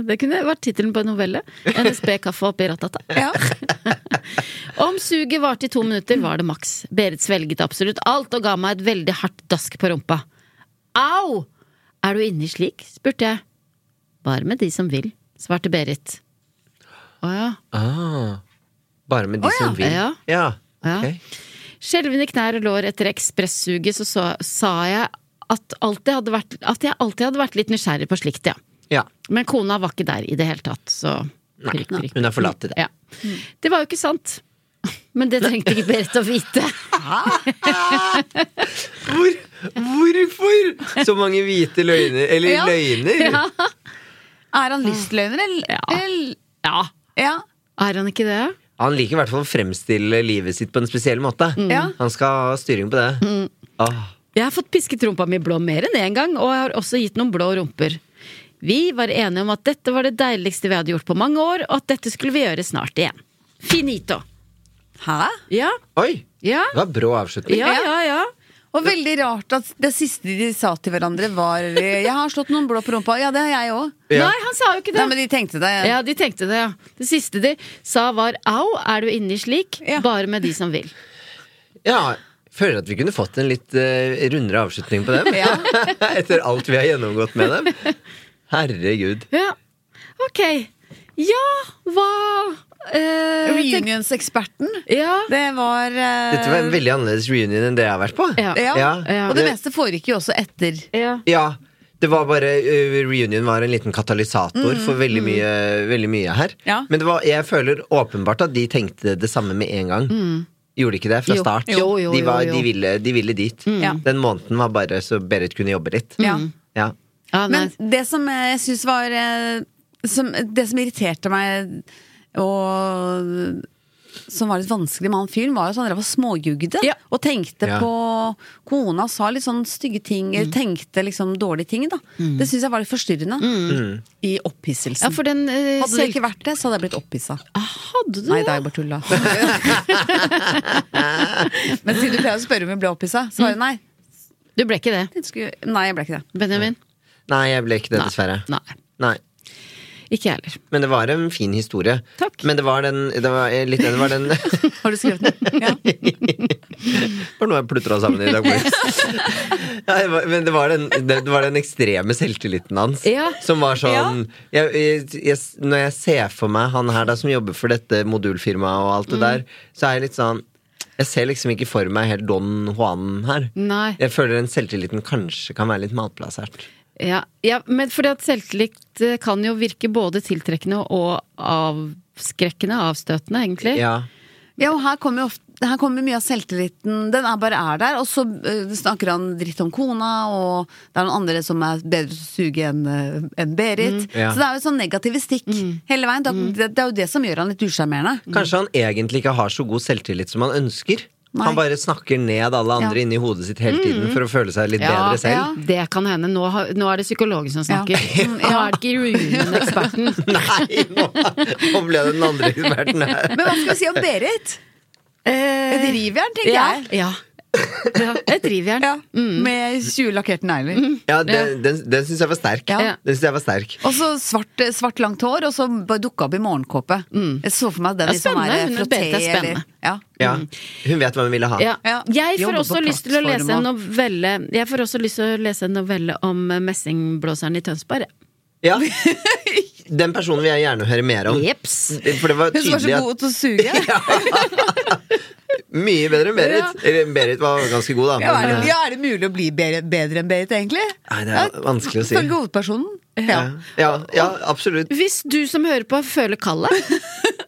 S1: Det kunne vært tittelen på en novelle. NSB-kaffe oppi ratata.
S2: Ja.
S1: Om suget varte i to minutter, var det maks. Berit svelget absolutt alt og ga meg et veldig hardt dask på rumpa. Au! Er du inni slik? spurte jeg. Bare med de som vil, svarte Berit. Å ja.
S4: Ah, bare med de som vil.
S1: Ja.
S4: ja.
S1: Ja.
S4: ok.
S1: Skjelvende knær og lår etter ekspressuget, så, så sa jeg at, alltid hadde vært, at jeg alltid hadde vært litt nysgjerrig på slikt, ja.
S4: ja.
S1: Men kona var ikke der i det hele tatt, så prikk, prikk,
S4: Hun har forlatt det.
S1: Ja. Det var jo ikke sant. Men det trengte ikke Berit å vite.
S4: Hvor, hvorfor så mange hvite løgner? Eller
S2: Ja.
S4: løgner?
S2: Er han lystløgner, eller?
S1: Mm. Ja.
S2: eller-
S1: Ja,
S2: ja.
S1: er han ikke det?
S4: Han liker i hvert fall å fremstille livet sitt på en spesiell måte.
S1: Mm.
S2: Ja.
S4: Han skal ha styring på det. Ah,
S1: Jeg har fått pisket rumpa mi blå mer enn én gang, og jeg har også gitt noen blå rumper. Vi var enige om at dette var det deiligste vi hadde gjort på mange år, og at dette skulle vi gjøre snart igjen. Finito.
S2: Hæ?
S1: Ja,
S4: oi!
S1: ja,
S4: Det var brå avslutning.
S1: ja, ja. ja.
S2: Og veldig rart at det siste de sa til hverandre var eh, Jeg har slått noen blå på rumpa. Ja, det har jeg òg.
S4: Ja.
S1: Nei, han sa jo ikke
S2: Nei,
S1: det.
S2: men de tenkte det.
S1: Ja, de tenkte det, ja. Det siste de sa var au, er du inni slik?
S2: Ja.
S1: Bare med de som vil.
S4: Ja, jeg føler at vi kunne fått en litt eh, rundere avslutning på dem.
S2: Ja.
S4: Etter alt vi har gjennomgått med dem. Herregud.
S1: Ja, ok. Ja, hva eh, tenk-
S2: Reunions-eksperten.
S1: Ja,
S2: Det var eh,
S4: Dette var en veldig annerledes reunion enn det jeg har vært på.
S1: Ja.
S2: ja.
S1: Ja.
S2: Og det meste foregikk jo også etter.
S1: ja.
S4: Ja, det var bare eh, Reunion var en liten
S1: Mm,
S4: katalysator for veldig mye, veldig mye her.
S2: Ja.
S4: Men det var, jeg føler åpenbart at de tenkte det samme med en gang. Gjorde de ikke det fra
S1: Mm. Jo.
S4: start?
S1: Jo, jo,
S4: de, var,
S1: jo, Mm. jo.
S4: de, ville, de ville dit.
S2: Ja.
S4: Den måneden var bare så Berit kunne jobbe litt. Mm.
S2: Ja.
S4: Ja.
S1: ja nei.
S2: Men det som eh, jeg syns var eh, som, Det som irriterte meg, og som var litt vanskelig med han fyren, var jo sånn at han var småjugde
S1: Ja.
S2: og tenkte
S4: Ja.
S2: på Kona sa litt sånn stygge ting, eller tenkte liksom dårlige ting, da. Det syns jeg var litt forstyrrende. I
S1: ja,
S2: opphisselsen.
S1: for den eh,
S2: hadde det
S1: selv-
S2: ikke vært det, så hadde jeg blitt opphissa.
S1: Hadde du
S2: Nei,
S1: det?
S2: da er jeg bare tulla. Mm. Men siden du pleier å spørre om jeg ble opphissa, så var det nei.
S1: Du ble ikke det,
S2: Den skulle- Nei, jeg ble ikke det.
S1: Benjamin?
S4: Nei, jeg ble ikke det,
S1: Nei.
S4: dessverre.
S1: Nei.
S4: Nei.
S1: Ikke jeg heller.
S4: Men det var en fin historie.
S1: Takk.
S4: Men det var den Det var, eh, litt, det var, den, det
S2: Har du skrevet den? Ja.
S4: var noe jeg plutra sammen i dag morges. Ja, det var- men det var, den, det, det var den ekstreme selvtilliten hans.
S1: Ja.
S4: Som var sånn jeg, jeg, jeg, Når jeg ser for meg han her da som jobber for dette modulfirmaet og
S1: Mm.
S4: alt det der, så er jeg litt sånn Jeg ser liksom ikke for meg helt Don Juan her.
S1: Nei.
S4: Jeg føler den selvtilliten kanskje kan være litt matplassert.
S1: Ja, ja, men fordi at selvtillit eh, kan jo virke både tiltrekkende og avskrekkende, avstøtende, egentlig.
S4: Ja.
S2: Ja, og her kommer, jo ofte, her kommer mye av selvtilliten. Den er bare er der. Og så eh, snakker han dritt om kona, og det er noen andre som er bedre til å suge enn eh, enn Berit.
S4: Ja.
S2: Så det er jo sånn negative stikk hele veien. Da, det, det er jo det som gjør han litt
S1: Mm.
S2: usjarmerende.
S4: Kanskje han egentlig ikke har så god selvtillit som han ønsker.
S2: Nei.
S4: Han bare snakker ned alle andre inni hodet sitt hele tiden for å føle seg litt
S1: Mm. Ja,
S4: bedre selv.
S2: ja.
S1: Det kan hende. Nå, har- nå er det psykologen som snakker.
S2: Ja. Mm, ja.
S1: Nå er det ikke runeeksperten.
S4: Nei, nå, nå ble det den andre eksperten her.
S2: Men hva skal vi si om Berit? Et rivjern, tenker
S1: Ja.
S2: jeg. Mm.
S1: ja. ja. Et rivjern.
S2: Ja, Med 20 lakkerte negler.
S4: Ja, den, den, den syns jeg var sterk.
S1: Ja.
S4: Den synes jeg var sterk.
S2: Og så svart, eh, svart langt hår, og så bare dukka opp i morgenkåpe. Jeg så for meg den
S1: Ja,
S2: i sånn her
S1: spennende. Hun er
S2: frotté
S1: Berit er spennende.
S2: eller ja.
S4: Ja. Hun vet hva hun ville ha.
S1: Ja.
S2: Ja.
S1: Jeg får
S2: Jobber
S1: også
S2: på
S1: lyst til å lese en
S2: plattform og-
S1: novelle Jeg får også lyst til å lese en novelle om eh, messingblåseren i Tønsberg.
S4: Ja. Den personen vil jeg gjerne høre mer om.
S1: Jeps.
S4: For det var
S2: Hun som var
S4: tydelig
S2: så
S4: at
S2: god til å suge.
S4: Mye bedre enn Berit. Eller Berit var ganske god, da.
S2: Ja, er,
S4: men- eh,
S2: det, ja, er det mulig å bli bedre, bedre enn Berit, egentlig?
S4: Nei, det er vanskelig å si.
S2: Følge hovedpersonen. Ja.
S4: Ja, ja, ja absolutt.
S1: Hvis du som hører på føler kallet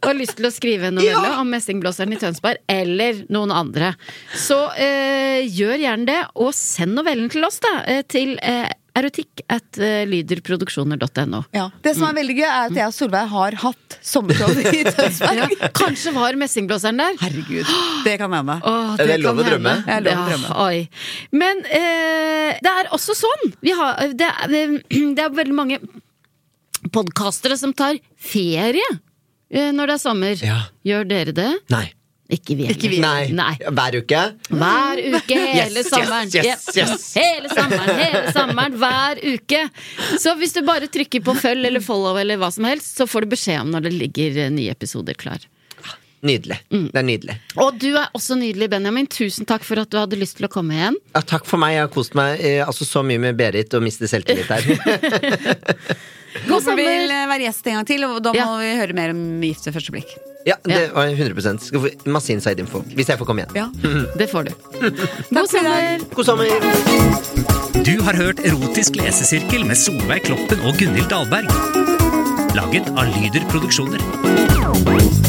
S1: og har lyst til å skrive en novelle om messingblåseren i Tønsberg, eller noen andre, så eh, gjør gjerne det, og send novellen til oss, da. eh, Til eh, erotikk at eh, lyderproduksjoner.no.
S2: Ja. Det som er veldig gøy, er at jeg og Solveig har hatt sommershow i Tønsberg.
S1: Ja, kanskje var messingblåseren der?
S2: Herregud, det kan hende.
S1: Åh,
S4: Det er lov
S1: kan
S4: å drømme.
S1: hende.
S2: Det er lov å drømme.
S1: Ja, oi. Men eh, det er også sånn. Vi har, det, er, det er veldig mange podkastere som tar ferie eh, når det er sommer.
S4: Ja.
S1: Gjør dere det?
S4: Nei.
S1: Ikke vi heller.
S4: Nei.
S1: Nei.
S4: Hver uke.
S1: Hver uke, hele
S4: yes,
S1: sommeren.
S4: yes,
S1: Ja.
S4: yes.
S1: Hele sommeren, hele sommeren, hver uke. Så hvis du bare trykker på følg eller follow eller hva som helst, så får du beskjed om når det ligger eh, nye episoder klar.
S4: Nydelig. Det er nydelig.
S1: Og du er også nydelig, Benjamin. Tusen takk for at du hadde lyst til å komme igjen.
S4: Ja, takk for meg. Jeg har kost meg eh, altså, så mye med Berit og mister selvtillit her.
S1: God
S2: Håper du vil
S1: sommer!
S2: eh, være gjest en gang til, og da må
S1: Ja.
S2: vi høre mer om Gift ved første blikk.
S4: Ja, det var 100 Skal få Masse inside info. Hvis jeg får komme igjen.
S2: Ja.
S1: Det får du. God sommer!
S4: God sommer!
S5: Du har hørt Erotisk lesesirkel med Solveig Kloppen og Gunhild Dahlberg. Laget av Lyder Produksjoner.